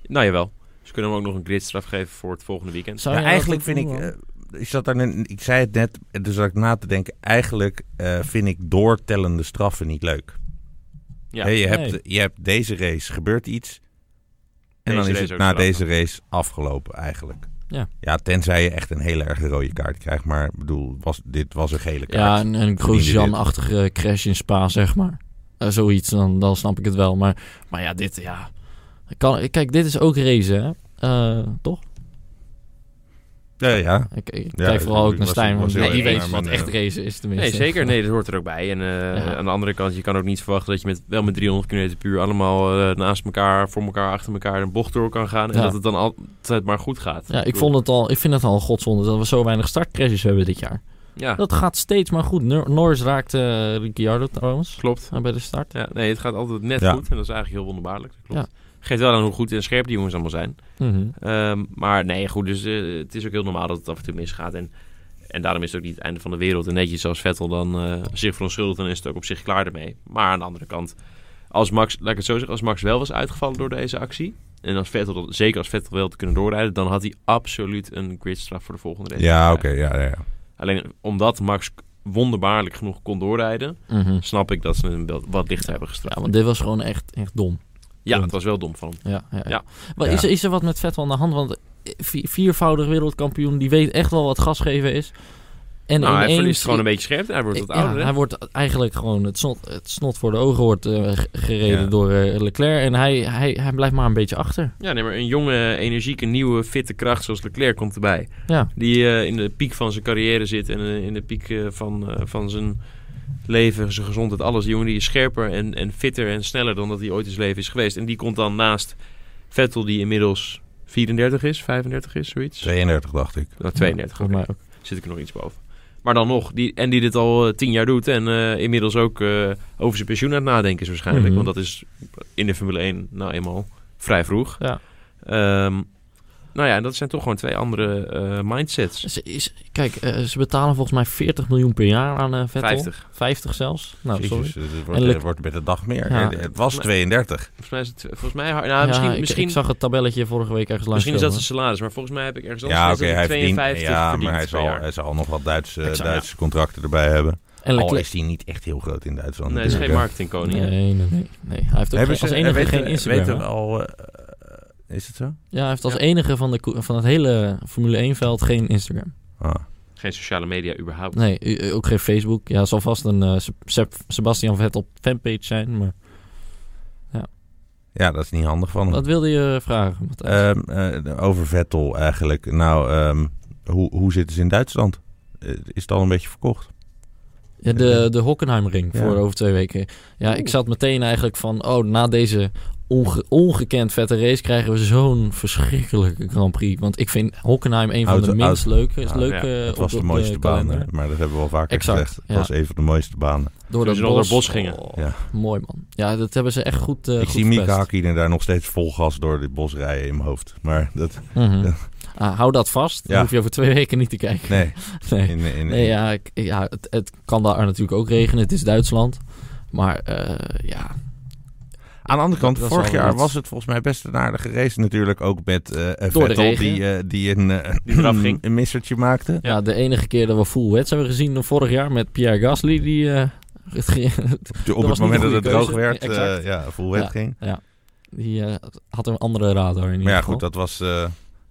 S1: Nou, jawel. Ze kunnen hem ook nog een gridstraf geven voor het volgende weekend.
S2: Zou
S3: Ja,
S2: jij dat
S3: eigenlijk
S2: ook
S3: vind ik.
S2: doen, man?
S3: eh, ik, zat daar net, ik zei het net, eh, dus zat ik na te denken. Eigenlijk eh, vind ik doortellende straffen niet leuk.
S1: Ja.
S3: Hè, je,
S2: Nee.
S3: hebt, je hebt deze race gebeurt iets. En
S1: Deze
S3: dan is
S1: race
S3: het
S1: ook
S3: na
S1: straf.
S3: deze race afgelopen eigenlijk.
S2: Ja.
S3: ja, tenzij je echt een hele erg rode kaart krijgt. Maar ik bedoel, was, dit was een gele kaart.
S2: Ja, een, een
S3: Verdiende dit.
S2: Grosjean-achtige crash in Spa, zeg maar. Eh, zoiets, dan, dan snap ik het wel. Maar, maar ja, dit, ja... Kan, kijk, dit is ook race, hè? Eh, toch?
S3: Ja, ja.
S2: Ik, ik
S3: Ja,
S2: kijk vooral
S3: het
S2: ook naar
S3: was-
S2: Stijn,
S3: was
S2: want
S3: heel
S2: nee, die
S3: erg
S2: weet
S3: naar
S2: wat
S3: man,
S2: echt
S3: eh.
S2: race is, tenminste.
S1: Nee, zeker. Nee, dat hoort er ook bij. En eh,
S2: Ja.
S1: aan de andere kant, je kan ook niet verwachten dat je met, wel met 300 km puur allemaal eh, naast elkaar, voor elkaar, achter elkaar een bocht door kan gaan. En
S2: Ja.
S1: dat het dan altijd maar goed gaat.
S2: Ja, ik,
S1: bedoel,
S2: vond het al, ik vind het al een godzonde dat we zo weinig startcrashes hebben dit jaar.
S1: Ja,
S2: Dat gaat steeds maar goed. Nor- Norris raakt eh, Ricciardo trouwens
S1: klopt.
S2: eh, bij de start.
S1: Ja, nee, het gaat altijd net
S3: Ja.
S1: goed. En dat is eigenlijk heel wonderbaarlijk. Dat klopt. Geeft wel aan hoe goed en scherp die jongens allemaal zijn.
S2: Mhm.
S1: Ehm, maar nee, goed, dus eh, het is ook heel normaal dat het af en toe misgaat. En, en daarom is het ook niet het einde van de wereld. En netjes als Vettel dan eh, zich verontschuldigt, dan is het ook op zich klaar ermee. Maar aan de andere kant, als Max, laat ik het zo zeggen, als Max wel was uitgevallen door deze actie... En als Vettel, dat- zeker als Vettel wel te kunnen doorrijden, dan had hij absoluut een gridstraf voor de volgende race.
S3: Ja, oké.
S1: moeten
S3: ja, ja, ja.
S1: krijgen. Alleen omdat Max wonderbaarlijk genoeg kon doorrijden,
S2: Mhm.
S1: snap ik dat ze hem wel wat lichter hebben
S2: Ja,
S1: gestraft.
S2: want dit was gewoon echt, echt dom.
S1: Ja, het was wel dom van hem.
S2: Ja, ja, ja.
S1: Ja.
S2: Maar
S3: Ja.
S2: Is, er- is er wat met Vettel aan de hand? Want vi- viervoudig wereldkampioen, die weet echt wel wat gas geven is. En
S1: Nou, hij
S2: ineens-
S1: verliest gewoon een beetje scherpte. Hij wordt wat
S2: Ja,
S1: ouder, hè?
S2: hij wordt eigenlijk gewoon het snot, het snot voor de ogen wordt eh, g- gereden
S3: Ja.
S2: door eh, Leclerc. En hij, hij, hij blijft maar een beetje achter.
S1: Ja, nee, maar een jonge, energieke, nieuwe, fitte kracht zoals Leclerc komt erbij.
S2: Ja.
S1: Die eh, in de piek van zijn carrière zit en eh, in de piek eh, van, eh, van zijn leven, zijn gezondheid, alles. Die jongen die is scherper en, en fitter en sneller dan dat hij ooit in zijn leven is geweest. En die komt dan naast Vettel, die inmiddels 34 is, 35 is, zoiets.
S3: 32 dacht ik.
S1: Nou, 32,
S2: Volgens
S1: oké.
S2: mij ook.
S1: zit ik er nog iets boven. Maar dan nog, die, en die dit al eh, tien jaar doet en eh, inmiddels ook eh, over zijn pensioen aan het nadenken is waarschijnlijk.
S2: Mhm.
S1: Want dat is in de Formule 1 nou eenmaal vrij vroeg.
S2: Ja.
S1: Ehm, Nou ja, dat zijn toch gewoon twee andere eh, mindsets.
S2: Ze is, kijk, eh, ze betalen volgens mij 40 miljoen per jaar aan eh Vettel.
S1: 50.
S2: 50 zelfs. Nou,
S3: Jezus,
S2: sorry.
S3: het wordt,
S2: En
S3: eh,
S2: Lec-
S3: wordt met de dag meer.
S2: Ja.
S3: En het was 32.
S1: Volgens mij is het... Volgens mij, nou, misschien,
S2: ja, ik,
S1: misschien,
S2: ik zag het tabelletje vorige week ergens langs
S1: misschien is dat zijn
S2: komen.
S1: salaris. Maar volgens mij heb ik ergens anders
S3: Ja, oké,
S1: gelezen
S3: hij
S1: dat hij
S3: verdient.
S1: 52
S3: Ja,
S1: verdient
S3: maar hij
S1: per
S3: zal,
S1: jaar.
S3: hij zal nog wat Duitse,
S2: Exact, ja.
S3: Duitse contracten erbij hebben.
S2: En
S3: Al
S2: Leclerc-
S3: is hij niet echt heel groot in Duitsland.
S1: Nee, hij Oh, is geen
S3: natuurlijk, hè.
S1: marketingkoning. hè?
S2: Nee, nee, nee, nee. Hij heeft ook
S3: Hebben
S2: geen,
S3: ze
S2: als enige
S3: weten-
S2: geen Instagram.
S3: weten
S2: hè?
S3: we al, eh, eh, is het zo?
S2: Ja, hij heeft als enige van, de, ko- van het hele Formule 1-veld geen Instagram.
S3: Ah.
S1: Geen sociale media überhaupt.
S2: Nee, eh, ook geen Facebook. Ja, het zal vast een eh, Seb- Seb- Sebastian Vettel fanpage zijn, maar...
S3: Ja, dat is niet handig van hem.
S2: Wat wilde je vragen, Matthijs?
S3: Ehm, Mm. eh, over Vettel eigenlijk. Nou, ehm, hoe, hoe zitten ze in Duitsland? Eh, is het al een beetje
S2: Eh,
S3: verkocht?
S2: Ja, de, de Hockenheimring
S3: eh, Ja.
S2: voor over twee weken. Ja, ik zat meteen eigenlijk van... Oh, na deze onge- ongekend vette race krijgen we zo'n verschrikkelijke Grand Prix. Want ik vind Hockenheim een van
S3: Auto-
S2: de minst
S3: auto-
S2: leuke.
S1: Ja,
S2: leuke
S1: ja,
S2: op
S3: Het was de
S2: op
S3: mooiste baan,
S2: kalender.
S3: hè? maar dat hebben we al vaker
S2: Exact,
S3: gezegd. Het
S2: ja.
S3: was een van de mooiste banen.
S2: Door
S1: Toen
S2: dat
S1: ze nog door
S2: bos.
S1: het bos gingen.
S2: Oh,
S3: Ja.
S2: Mooi, man. Ja, dat hebben ze echt goed eh
S3: ik
S2: goed
S3: zie Mika
S2: verpest.
S3: Hakkinen daar nog steeds vol gas door dit bos rijden in mijn hoofd. Maar dat...
S2: Mhm. Ah, hou dat vast. Dan
S3: Ja.
S2: hoef je over twee weken niet te kijken.
S3: Nee,
S2: Nee.
S3: in, in,
S2: Nee, ja, ik- ja het, het kan daar natuurlijk ook regenen. Het is Duitsland. Maar eh, ja,
S3: Aan de andere kant,
S2: Dat is
S3: vorig
S2: wel
S3: jaar
S2: wat.
S3: was het volgens mij best een adige race natuurlijk. Ook met eh,
S2: Door de
S3: Vettel
S2: regen.
S3: die, eh, die een, eh,
S1: Die eraf ging.
S3: een missertje maakte.
S2: Ja. de enige keer dat we full wets hebben gezien dan vorig jaar met Pierre Gasly. Die, eh, het ge-
S3: Op
S2: was
S3: het
S2: niet
S3: moment
S2: een
S3: dat het
S2: goede
S3: droog
S2: keuze.
S3: werd,
S2: Nee, exact.
S3: eh, ja, full wet
S2: Ja.
S3: ging.
S2: die eh, had een andere radar in ieder
S3: Maar ja,
S2: geval.
S3: goed, dat was... eh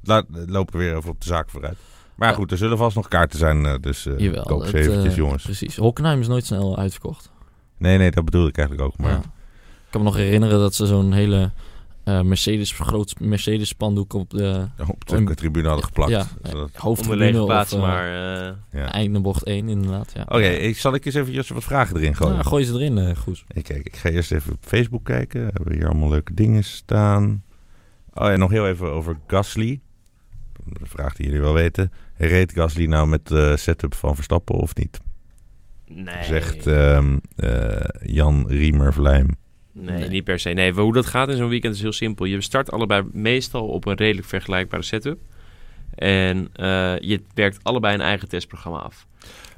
S3: laat, lopen we weer over op de zaak vooruit. Maar ja,
S2: Ja.
S3: goed, er zullen vast nog kaarten zijn, eh, dus eh,
S2: Jawel,
S3: koop ze
S2: het, eh,
S3: eventjes, jongens.
S2: Precies. Hockenheim is nooit snel uitverkocht.
S3: Nee, nee, dat bedoelde ik eigenlijk ook. Maar
S2: Ja. Ik kan me nog herinneren dat ze zo'n hele eh, Mercedes, groot Mercedes spandoek op de
S3: op de
S2: Om-
S3: tribune hadden geplakt.
S2: ja,
S3: Zodat-
S1: Om de lege
S2: hoofdtribune of
S1: plaats,
S2: eh,
S1: maar... eh,
S3: ja.
S2: eindbocht 1 inderdaad. Ja.
S3: Oké, ik- zal ik eens eventjes wat vragen erin gooien?
S2: Ja, gooi ze erin, eh Goes.
S3: Ik, kijk, ik ga eerst even op Facebook kijken. We hebben hier allemaal leuke dingen staan. Oh ja, nog heel even over Gasly. Een vraag die jullie wel weten. Reed Gasly nou met de setup van Verstappen of niet?
S1: nee.
S3: Zegt ehm, eh, Jan Riemer Vlijm.
S1: Nee,
S2: Nee.
S1: niet per se. Nee, hoe dat gaat in zo'n weekend is heel simpel. Je start allebei meestal op een redelijk vergelijkbare setup. En eh, je werkt allebei een eigen testprogramma af.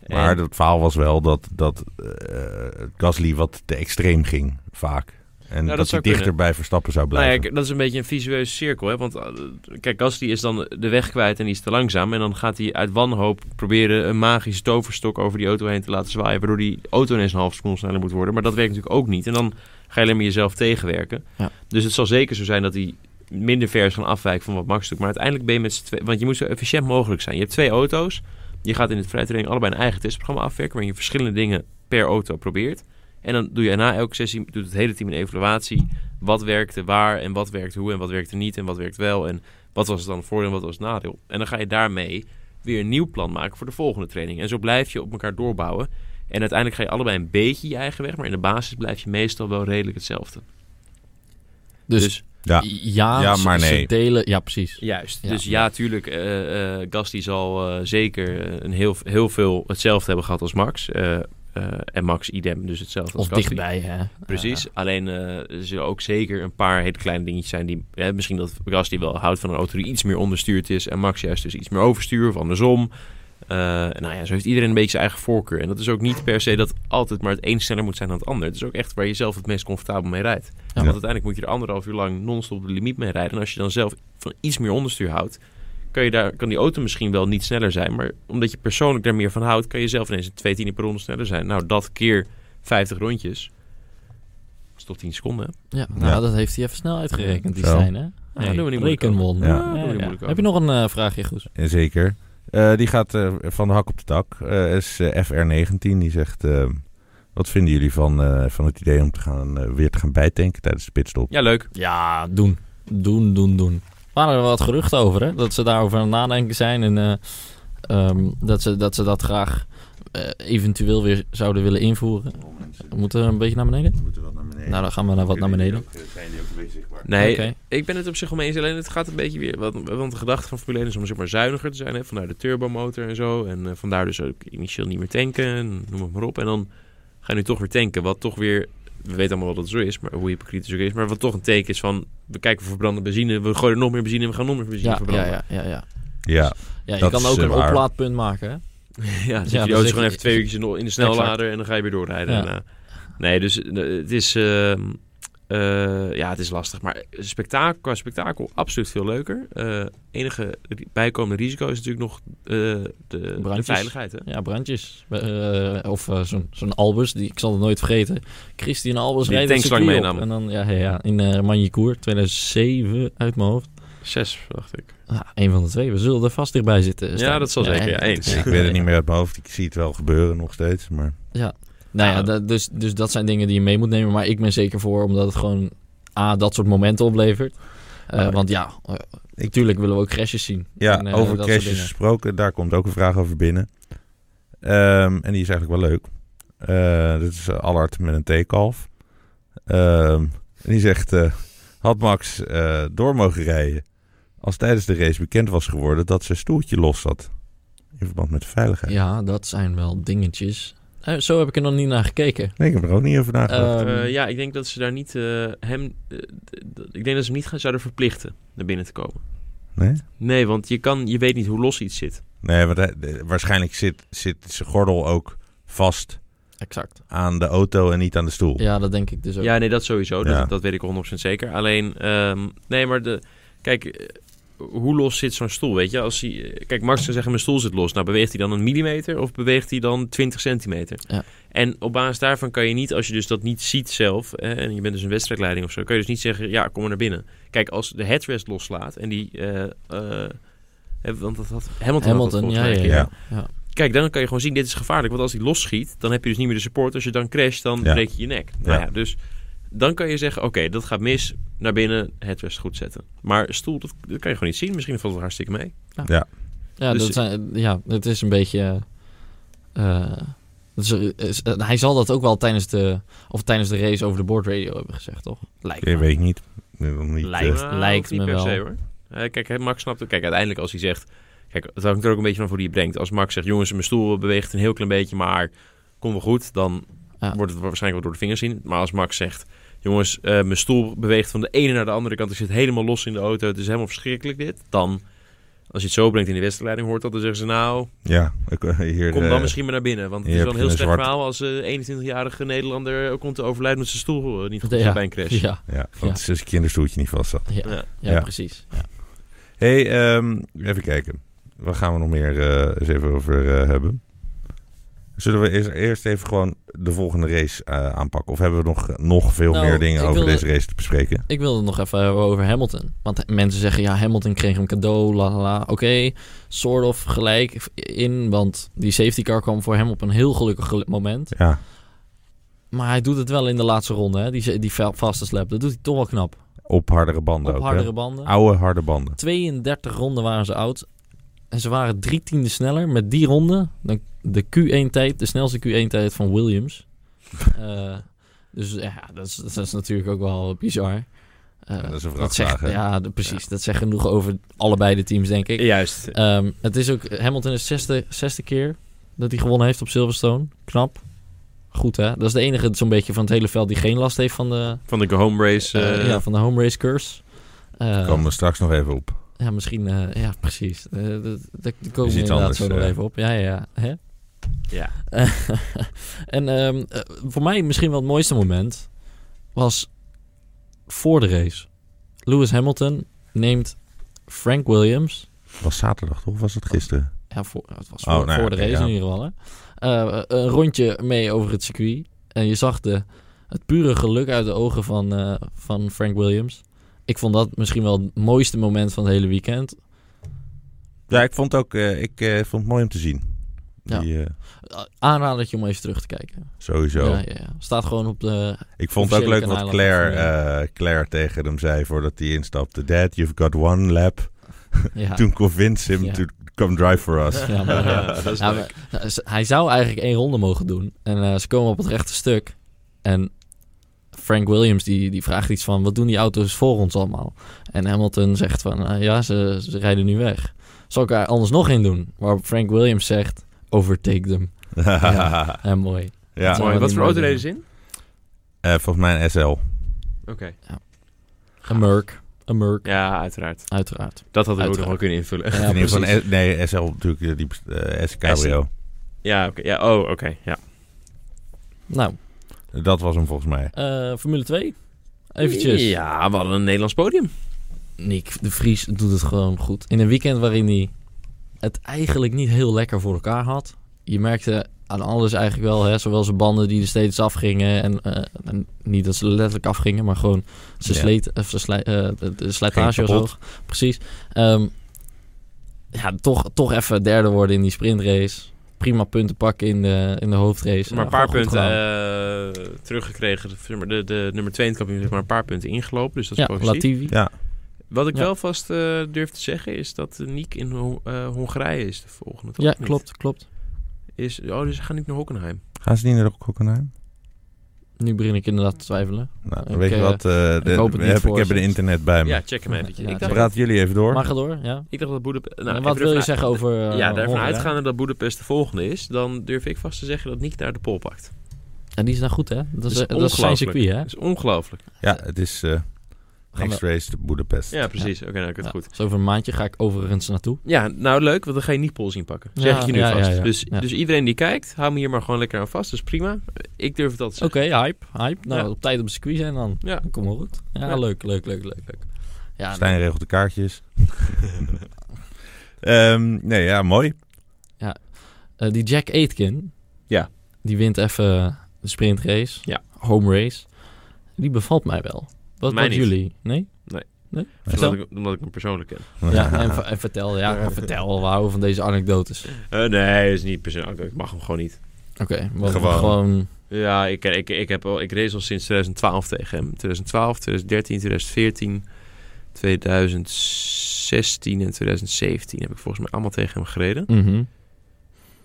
S3: Maar
S1: En-
S3: het verhaal was wel dat, dat eh, Gasly wat te extreem ging, vaak. En
S1: Nou, dat
S3: dat, hij
S1: zou
S3: dichter
S1: kunnen.
S3: bij Verstappen zou
S1: nou
S3: blijven.
S1: ja, k- dat is een beetje een visueuze cirkel. Hè? Want eh, kijk, Gasly is dan de weg kwijt en die is te langzaam. En dan gaat hij uit wanhoop proberen een magische toverstok over die auto heen te laten zwaaien. Waardoor die auto ineens een half seconde sneller moet worden. Maar dat werkt natuurlijk ook niet. En dan ga je alleen maar jezelf tegenwerken.
S2: Ja.
S1: Dus het zal zeker zo zijn dat hij minder ver is gaan afwijken van wat Max doet. Maar uiteindelijk ben je met z'n twee... Want je moet zo efficiënt mogelijk zijn. Je hebt twee auto's. Je gaat in het vrijtraining allebei een eigen testprogramma afwerken... waarin je verschillende dingen per auto probeert. En dan doe je na elke sessie doet het hele team een evaluatie. Wat werkte waar en wat werkte hoe en wat werkte niet en wat werkt wel. En wat was het dan voordeel en wat was het nadeel. En dan ga je daarmee weer een nieuw plan maken voor de volgende training. En zo blijf je op elkaar doorbouwen. En uiteindelijk ga je allebei een beetje je eigen weg. Maar in de basis blijf je meestal wel redelijk hetzelfde.
S2: Dus,
S1: Dus-
S3: Ja.
S2: ja,
S3: Ja,
S2: ze-
S3: maar
S2: ze
S3: nee.
S2: delen... Ja, precies.
S1: Juist.
S2: Ja.
S1: Dus ja, tuurlijk. eh eh Gasti zal eh, zeker eh, een heel, heel veel hetzelfde hebben gehad als Max. Eh, eh, en Max idem, dus hetzelfde als
S2: Of
S1: Gasti.
S2: dichtbij, hè.
S1: Precies. Alleen eh, er zullen ook zeker een paar hele kleine dingetjes zijn die... Hè, misschien dat Gasti wel houdt van een auto die iets meer onderstuurd is... en Max juist dus iets meer overstuur of andersom. Eh, nou ja, zo heeft iedereen een beetje zijn eigen voorkeur. En dat is ook niet per se dat altijd maar het een sneller moet zijn dan het ander. Het is ook echt waar je zelf het meest comfortabel mee rijdt. Want uiteindelijk moet je er anderhalf uur lang non-stop de limiet mee rijden. En als je dan zelf van iets meer onderstuur houdt... Kan, je daar, kan die auto misschien wel niet sneller zijn. Maar omdat je persoonlijk daar meer van houdt... kan je zelf ineens een twee tiende per ronde sneller zijn. Nou, dat keer 50 rondjes... Dat is toch 10 seconden, hè?
S2: Ja, nou,
S3: Ja.
S2: dat heeft hij even snel uitgerekend, die
S3: Zo.
S2: Stijn, hè?
S1: doen we niet moeilijk
S2: Rekenwon.
S3: over. Ja.
S2: Ja,
S1: Doen we niet
S2: ja.
S1: moeilijk over.
S2: Heb je nog een eh, vraagje, Goes?
S3: Eh, Zeker. Eh, die gaat eh, van de hak op de tak. Eh, is eh, FR19. Die zegt: eh, Wat vinden jullie van, eh, van het idee om te gaan, eh, weer te gaan bijtanken tijdens de pitstop?
S1: Ja, leuk.
S2: Ja, doen. Doen, doen, doen. Waren er wat geruchten over, hè? Dat ze daarover aan het nadenken zijn en eh, ehm, dat, ze, dat ze dat graag eh, eventueel weer zouden willen invoeren. We moeten een beetje naar beneden.
S3: moeten wat naar beneden.
S2: Nou, dan gaan we naar wat naar beneden.
S3: Zijn die ook een beetje zichtbaar?
S1: Nee,
S2: Oké.
S1: ik ben het op zich wel mee eens. Alleen het gaat een beetje weer... wat- Want de gedachte van Formule 1 is om zeg maar zuiniger te zijn. Hè? Vandaar de turbomotor en zo. En eh, vandaar dus ook initieel niet meer tanken. en Noem het maar op. En dan ga je nu toch weer tanken. Wat toch weer we weten allemaal wel dat het zo is, maar hoe hypocriet het ook is. Maar wat toch een teken is van, we kijken voor verbrande benzine, we gooien er nog meer benzine en we gaan nog meer benzine
S2: Ja, ja,
S1: verbranden.
S2: ja, ja, ja.
S3: Ja,
S2: ja je
S3: Dat
S2: kan
S3: is,
S2: ook
S3: eh,
S2: een
S3: waar.
S2: oplaadpunt maken, hè?
S1: Ja, zit
S2: Ja,
S1: je
S2: dan
S1: auto
S2: zeg
S1: gewoon
S2: je-
S1: even twee uurtjes in de- in de snellader en dan ga je weer doorrijden.
S2: Ja.
S1: daarna. Nee, dus eh, het is... ehm, eh, ja, het is lastig. Maar spektakel, qua spektakel absoluut veel leuker. Eh enige bijkomende risico is natuurlijk nog eh, de, de
S2: Brandjes.
S1: veiligheid. Hè?
S2: Ja, brandjes. Eh, of eh, zo'n, zo'n Albers, die, ik zal het nooit vergeten. Christian Albers
S1: Die
S2: reed het
S1: tankslang
S2: circuit op.
S1: meenam.
S2: En dan, ja, ja, ja, in eh Magny-Cours, 2007 uit mijn hoofd.
S1: Zes, dacht ik.
S2: Ja, een van de twee, we zullen er vast dichtbij zitten. Stijn.
S1: Ja, dat zal
S2: Nee,
S1: zeker. Ja, eens.
S3: ik weet het niet meer uit mijn hoofd. Ik zie het wel gebeuren nog steeds, maar...
S2: Nou ja,
S1: Ja.
S2: dat- dus, dus dat zijn dingen die je mee moet nemen. Maar ik ben zeker voor, omdat het gewoon A, dat soort momenten oplevert. Eh,
S3: Maar-
S2: want ja, eh, natuurlijk willen we ook crashes zien.
S3: Ja,
S2: En, eh,
S3: over
S2: dat soort
S3: crashes
S2: dingen.
S3: gesproken, daar komt ook een vraag over binnen. Ehm, en die is eigenlijk wel leuk. Eh, dit is eh, Allard met een theekalf. Ehm, en die zegt, eh, had Max eh, door mogen rijden als tijdens de race bekend was geworden dat zijn stoeltje los zat? In verband met de veiligheid.
S2: Ja, dat zijn wel dingetjes. Eh, zo heb ik er nog niet naar gekeken.
S3: Nee, ik heb er ook niet over nagedacht.
S2: Ehm,
S1: Eh, ja, ik denk dat ze daar niet eh, hem. eh, d- d- ik denk dat ze hem niet gaan, zouden verplichten naar binnen te komen.
S2: Eh.
S3: nee?
S1: Nee, want je, kan, je weet niet hoe los iets zit.
S3: Nee, want hij- de- waarschijnlijk zit, zit zijn gordel ook vast
S2: Exact.
S3: aan de auto en niet aan de stoel.
S2: Ja, dat denk ik dus ook.
S1: Ja, nee, dat sowieso.
S3: Ja.
S1: Dat, dat weet ik 100% zeker. Alleen, ehm, nee, maar de. Kijk. eh, hoe los zit zo'n stoel, weet je? Als hij, eh, kijk, Max kan zeggen, mijn stoel zit los. Nou, beweegt hij dan een millimeter of beweegt hij dan 20 centimeter?
S2: Ja.
S1: En op basis daarvan kan je niet, als je dus dat niet ziet zelf... eh, en je bent dus een wedstrijdleiding of zo... kan je dus niet zeggen, ja, kom maar naar binnen. Kijk, als de headrest loslaat en die... eh, eh, eh, want dat had Hamilton, had dat
S2: Hamilton,
S1: volgens
S2: ja,
S1: mij een
S2: ja,
S1: keer.
S2: ja.
S3: Ja.
S1: Kijk, dan kan je gewoon zien, dit is gevaarlijk. Want als hij losschiet, dan heb je dus niet meer de support. Als je dan crasht, dan
S3: Ja.
S1: breek je je nek. Nou
S3: Ja.
S1: ja, dus dan kan je zeggen, oké, dat gaat mis. Naar binnen, het rest goed zetten. Maar stoel, dat, dat kan je gewoon niet zien. Misschien valt het hartstikke mee.
S2: Ja,
S1: Dus-
S2: dat zijn, ja, het is een beetje. eh, het is- het is- eh, hij zal dat ook wel tijdens de, of tijdens de race over de board radio hebben gezegd, toch? Lijkt
S3: Ik
S2: me.
S3: weet ik niet. Ik weet nog niet, eh,
S1: Lijkt,
S2: Lijkt
S1: niet
S2: me
S1: per
S2: wel.
S1: se hoor. Eh, kijk, hè, Max snapt het. Kijk, uiteindelijk als hij zegt... Kijk, het hangt er ook een beetje van voor die je brengt. Als Max zegt, jongens, mijn stoel beweegt een heel klein beetje, maar komt wel goed. Dan
S2: Ja.
S1: wordt het waarschijnlijk wel door de vingers zien. Maar als Max zegt, jongens, eh, mijn stoel beweegt van de ene naar de andere kant. Ik zit helemaal los in de auto. Het is helemaal verschrikkelijk dit. Dan, als je het zo brengt in de wedstrijdleiding, hoort dat. Dan zeggen ze, nou,
S3: Ja, ik, eh, hier,
S1: kom dan
S3: eh,
S1: misschien maar naar binnen. Want het
S3: hier
S1: is wel een
S3: heb
S1: heel
S3: je
S1: slecht
S3: een zwart-
S1: verhaal als een 21-jarige Nederlander komt te overlijden met zijn stoel eh, niet goed
S2: Ja.
S1: zit bij een crash.
S2: Ja,
S3: Ja, want
S2: Ja.
S3: het is dus een kinderstoeltje niet vast zat.
S2: ja, ja,
S1: Ja.
S3: Ja.
S2: precies. Ja.
S3: Hé, hey, ehm, even kijken. Waar gaan we nog meer eh, eens even over eh, hebben? Zullen we eerst, eerst even gewoon de volgende race eh, aanpakken? Of hebben we nog, nog veel
S2: Nou,
S3: meer dingen
S2: ik
S3: over
S2: wilde-
S3: deze race te bespreken?
S2: Ik wilde het nog even hebben over Hamilton. Want mensen zeggen, ja, Hamilton kreeg hem cadeau, la la la. Oké, sort of gelijk in, want die safety car kwam voor hem op een heel gelukkig gelu- moment.
S3: Ja,
S2: Maar hij doet het wel in de laatste ronde, hè? Die, ze- die fa- fastest lap. Dat doet hij toch wel knap.
S3: op hardere banden
S2: Op
S3: ook.
S2: hardere
S3: Hardere...
S2: banden.
S3: Oude harde banden.
S2: 32 ronden waren ze oud. En ze waren drie tienden sneller met die ronde. Dan de Q1-tijd, de snelste Q1-tijd van Williams. Eh, dus ja, dat is, dat is natuurlijk ook wel bizar. Eh,
S3: Ja, dat is een
S2: zegt,
S3: vrachtwagen, hè?
S2: Ja, de- precies. Dat zegt genoeg over allebei de teams, denk ik.
S1: Juist.
S2: Ehm, het is ook, Hamilton is zesde, zesde keer dat hij gewonnen heeft op Silverstone. Knap. Goed, hè? Dat is de enige zo'n beetje van het hele veld die geen last heeft van de,
S1: Van de home race.
S2: eh,
S1: eh,
S2: ja, van de home race curse. Eh,
S3: Komen we straks nog even op.
S2: ja, misschien. eh, ja, precies. Eh, dat- dat- Daar komen
S3: iets
S2: we inderdaad
S3: anders,
S2: zo nog
S3: eh.
S2: even op. Ja, ja, ja. Hè?
S1: ja.
S2: en ehm, eh, voor mij misschien wel het mooiste moment was voor de race. Lewis Hamilton neemt Frank Williams.
S3: Was zaterdag toch? Of was het gisteren?
S2: Ja, voor, het was
S3: Oh,
S2: voor,
S3: nou ja,
S2: voor de
S3: oké,
S2: race
S3: ja.
S2: in ieder geval. Hè? Eh, een rondje mee over het circuit. En je zag de, het pure geluk uit de ogen van, eh, van Frank Williams. Ik vond dat misschien wel het mooiste moment van het hele weekend.
S3: Ja, ik vond het ook eh, ik, eh, vond het mooi om te zien.
S2: Ja.
S3: Die, eh,
S2: Aanradertje om even terug te kijken.
S3: sowieso.
S2: Ja, ja, ja. Staat gewoon op de.
S3: Ik vond het ook
S2: Officiële
S3: leuk wat
S2: kanalen
S3: Claire,
S2: van
S3: eh, Claire tegen hem zei voordat hij instapte. Dad, you've got one lap.
S2: Ja.
S3: Toen convince him
S2: Ah. Ja.
S3: to come drive for us.
S2: Ja, maar- eh,
S1: Ja, dat is
S2: Ja,
S1: leuk.
S2: maar, eh, ze- hij zou eigenlijk één ronde mogen doen. En eh, ze komen op het rechte stuk. En Frank Williams die, die vraagt iets van... wat doen die auto's voor ons allemaal? En Hamilton zegt van... eh, ja, ze, ze rijden nu weg. Zal ik er anders nog in doen? Waarop Frank Williams zegt... overtake them.
S3: ja.
S2: En mooi.
S3: ja.
S2: Mooi.
S1: Mooi. Wat
S2: die
S1: voor
S2: mooie
S1: auto reden ze in?
S3: Eh, volgens mij een SL.
S1: Oké.
S2: Een Merc. Een Merc,
S1: Ja, uiteraard.
S2: uiteraard.
S1: Dat hadden we ook
S2: Uiteraard.
S1: nog wel kunnen invullen.
S2: Ja,
S3: in ieder geval
S2: precies.
S3: een S- nee, SL natuurlijk, eh, die best- eh, S Cabrio.
S1: Ja, oké. Ja, oh, oké. Ja.
S2: Nou,
S3: Dat was hem volgens mij.
S2: eh, Formule 2. Eventjes.
S1: Ja, we hadden een Nederlands podium.
S2: Nick de Vries doet het gewoon goed. In een weekend waarin hij het eigenlijk niet heel lekker voor elkaar had. Je merkte aan alles eigenlijk wel, hè, zowel zijn banden die er steeds afgingen. En, eh, en niet dat ze letterlijk afgingen, maar gewoon ze
S3: Ja.
S2: sleet, of ze slij- eh, de- de slijtage was
S3: kapot.
S2: hoog. Precies. Ehm, ja, toch, toch even derde worden in die sprintrace. Prima punten pakken in de, in de hoofdrace.
S1: Maar een
S2: Ja,
S1: paar
S2: gewoon goed
S1: punten
S2: gedaan.
S1: eh, teruggekregen. De, de, de nummer 2 in het kampioen heeft maar een paar punten ingelopen. Dus dat is
S2: ja,
S1: positief.
S2: Latifi.
S3: Ja,
S1: Wat ik
S2: Ja.
S1: wel vast eh, durf te zeggen is dat Niek in Ho- eh, Hongarije is de volgende. toch?
S2: Ja,
S1: Of niet?
S2: klopt, klopt.
S1: Is, oh, dus ze gaan niet naar Hockenheim.
S3: gaan ze niet naar Hockenheim?
S2: Nu begin ik inderdaad te twijfelen.
S3: Nou,
S2: Ik,
S3: weet je
S2: eh,
S3: wat? eh, de-
S2: hoop het niet
S3: heb, ik
S2: voor
S3: heb
S2: ze.
S3: de internet bij me.
S1: Ja, check hem eventjes.
S2: Ja,
S1: ik, dacht,
S2: check.
S3: Praat jullie even door.
S2: Mag het door, ja.
S1: ik dacht dat Boedapest...
S2: En wat wil je zeggen over...
S1: ja,
S2: eh,
S1: daarvan
S2: Hongarije?
S1: uitgaande dat Boedapest de volgende is, dan durf ik vast te zeggen dat Niek daar de pol pakt.
S2: En die is nou goed, hè? Dat is,
S1: Dat is
S2: dat is zijn
S1: ongelooflijk.
S2: circuit, hè?
S1: Dat is ongelooflijk.
S3: Ja, het is eh
S2: Gaan
S3: Next Race de Budapest.
S1: Ja, precies. Oké, nou, ik heb het goed.
S2: Dus over een maandje ga ik overigens naartoe.
S1: Ja, nou leuk, want dan ga je niet pol zien pakken. Zeg
S2: Ja,
S1: ik je nu
S2: ja,
S1: vast.
S2: ja, ja.
S1: Dus,
S2: Ja.
S1: dus iedereen die kijkt, hou me hier maar gewoon lekker aan vast. Dat is prima. Ik durf het altijd te
S2: Oké,
S1: zeggen.
S2: hype, hype. Nou,
S1: Ja.
S2: op tijd op het circuit zijn dan.
S1: Ja.
S2: Kom maar goed. Ja,
S1: Ja.
S2: leuk, leuk, leuk, leuk, leuk. Ja,
S3: Stijn regelt de kaartjes. Ehm, nee, ja, mooi.
S2: eh, die Jack Aitken.
S1: Ja.
S2: Die wint even de sprintrace.
S1: Ja.
S2: Home race. Die bevalt mij wel. Wat
S1: Mij
S2: met
S1: niet.
S2: jullie? Nee?
S1: Nee.
S2: Nee?
S1: Omdat
S2: Vertel.
S1: ik, omdat ik hem persoonlijk ken.
S2: Ja, en, ver- en vertel. Ja, vertel. We houden van deze anekdotes.
S1: Eh, nee, is niet persoonlijk. Ik mag hem gewoon niet.
S2: Oké. maar
S3: Gewoon.
S2: gewoon
S1: Ja, ik, ik, ik, heb al, ik race al sinds 2012 tegen hem. 2012, 2013, 2014, 2016 en 2017 heb ik volgens mij allemaal tegen hem gereden.
S2: mhm.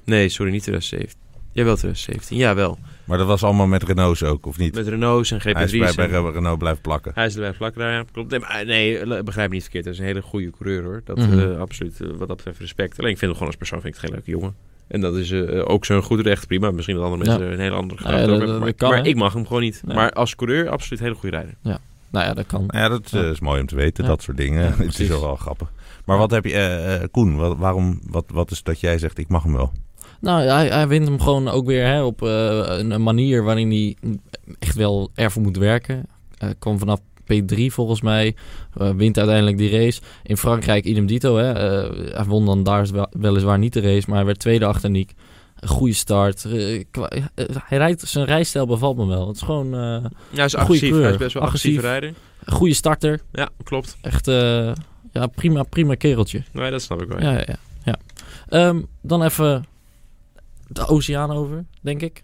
S1: Nee, sorry, niet 2017. Jawel, 2017. Jawel.
S3: Maar dat was allemaal met Renault's ook, of niet?
S1: Met Renault's en
S3: Hij
S1: GP3's.
S3: is bij, bij
S1: en-
S3: Re- Renault blijven plakken.
S1: Hij is erbij vlak daar, ja. Klopt. Nee, maar, nee, le- begrijp me niet verkeerd. Hij is een hele goede coureur, hoor. Dat
S2: Mhm.
S1: eh, absoluut, eh, wat dat betreft, respect. Alleen ik vind hem gewoon als persoon vind ik het geen leuke jongen. En dat is eh, ook zo'n goed recht, prima. Misschien dat andere mensen
S2: Ja.
S1: er een hele andere
S2: Nou
S1: gedachte
S2: ja, dat-
S1: over hebben.
S2: dat-
S1: Maar,
S2: dat kan,
S1: maar
S2: hè?
S1: ik mag hem gewoon niet.
S2: Nee.
S1: Maar als coureur, absoluut een hele goede rijder.
S2: Nou ja, dat kan.
S3: Nou ja, dat eh, is mooi om te weten,
S2: Ja.
S3: dat soort dingen.
S2: Ja,
S3: het
S2: precies.
S3: is ook wel grappig. Maar wat heb je, eh, eh, Koen, wat, waarom, wat, wat is dat jij zegt, ik mag hem wel?
S2: Nou, hij, hij wint hem gewoon ook weer hè, op eh, een, een manier waarin hij echt wel ervoor moet werken. Eh kwam vanaf P3 volgens mij, eh, wint uiteindelijk die race. In Frankrijk idem dito, hè. eh, hij won dan daar wel- weliswaar niet de race, maar hij werd tweede achter Nick. Een goede start. Eh, kwa- eh, hij rijdt, zijn rijstijl bevalt me wel. Het is gewoon eh,
S1: Ja, hij is
S2: Een goede
S1: agressief. Hij
S2: coureur.
S1: is best wel een agressieve
S2: Agressief.
S1: rijder.
S2: een goede starter.
S1: Ja, klopt.
S2: Echt eh, ja, prima, prima kereltje.
S1: Nee, dat snap ik wel. ja.
S2: Ja, ja, ja. ja. Ehm, dan even de oceaan over, denk ik.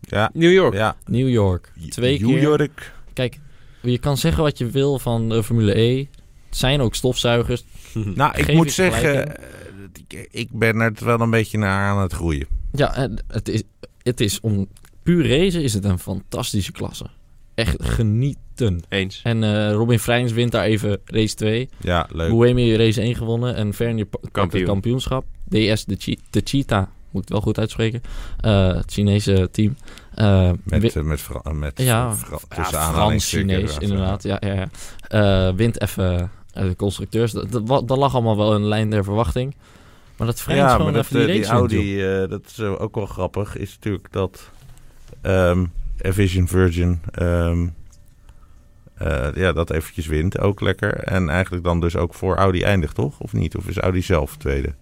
S3: Ja,
S1: New York.
S3: ja.
S2: New York. Twee
S3: New
S2: keer.
S3: York.
S2: Kijk, je kan zeggen wat je wil van de Formule E. Het zijn ook stofzuigers.
S3: Nou, ik
S2: Geef
S3: moet
S2: ik
S3: zeggen,
S2: gelijk
S3: eh, dat ik- ik ben er wel een beetje naar aan het groeien.
S2: Ja, en het is, het is om puur racen is het een fantastische klasse. Echt genieten.
S1: Eens.
S2: En eh, Robin Vrijns wint daar even race 2.
S3: Ja, leuk.
S2: Boemi race 1 gewonnen en Vernier pa- pakt het
S1: Kampioen.
S2: kampioenschap. DS de, Chi- de Cheetah, moet ik wel goed uitspreken. Eh, het Chinese team. Eh,
S3: Met,
S2: wi-
S3: eh, met, Fra- met
S2: Ja,
S3: Fra-
S2: Ja,
S3: tussen
S2: Frans,
S3: aanhalingstekens.
S2: Chinees, inderdaad. Ja, ja, ja. Eh, wint even eh, de constructeurs. Dat, dat, wa- dat lag allemaal wel in de lijn der verwachting. Maar dat vreemd
S3: Ja,
S2: gewoon
S3: maar dat,
S2: even die,
S3: eh, die
S2: race wint, joh.
S3: Audi, eh, dat is eh, ook wel grappig, is natuurlijk dat ehm Vision Virgin, ehm, eh, ja, dat eventjes wint, ook lekker. En eigenlijk dan dus ook voor Audi eindigt, toch? Of niet? Of is Audi zelf tweede?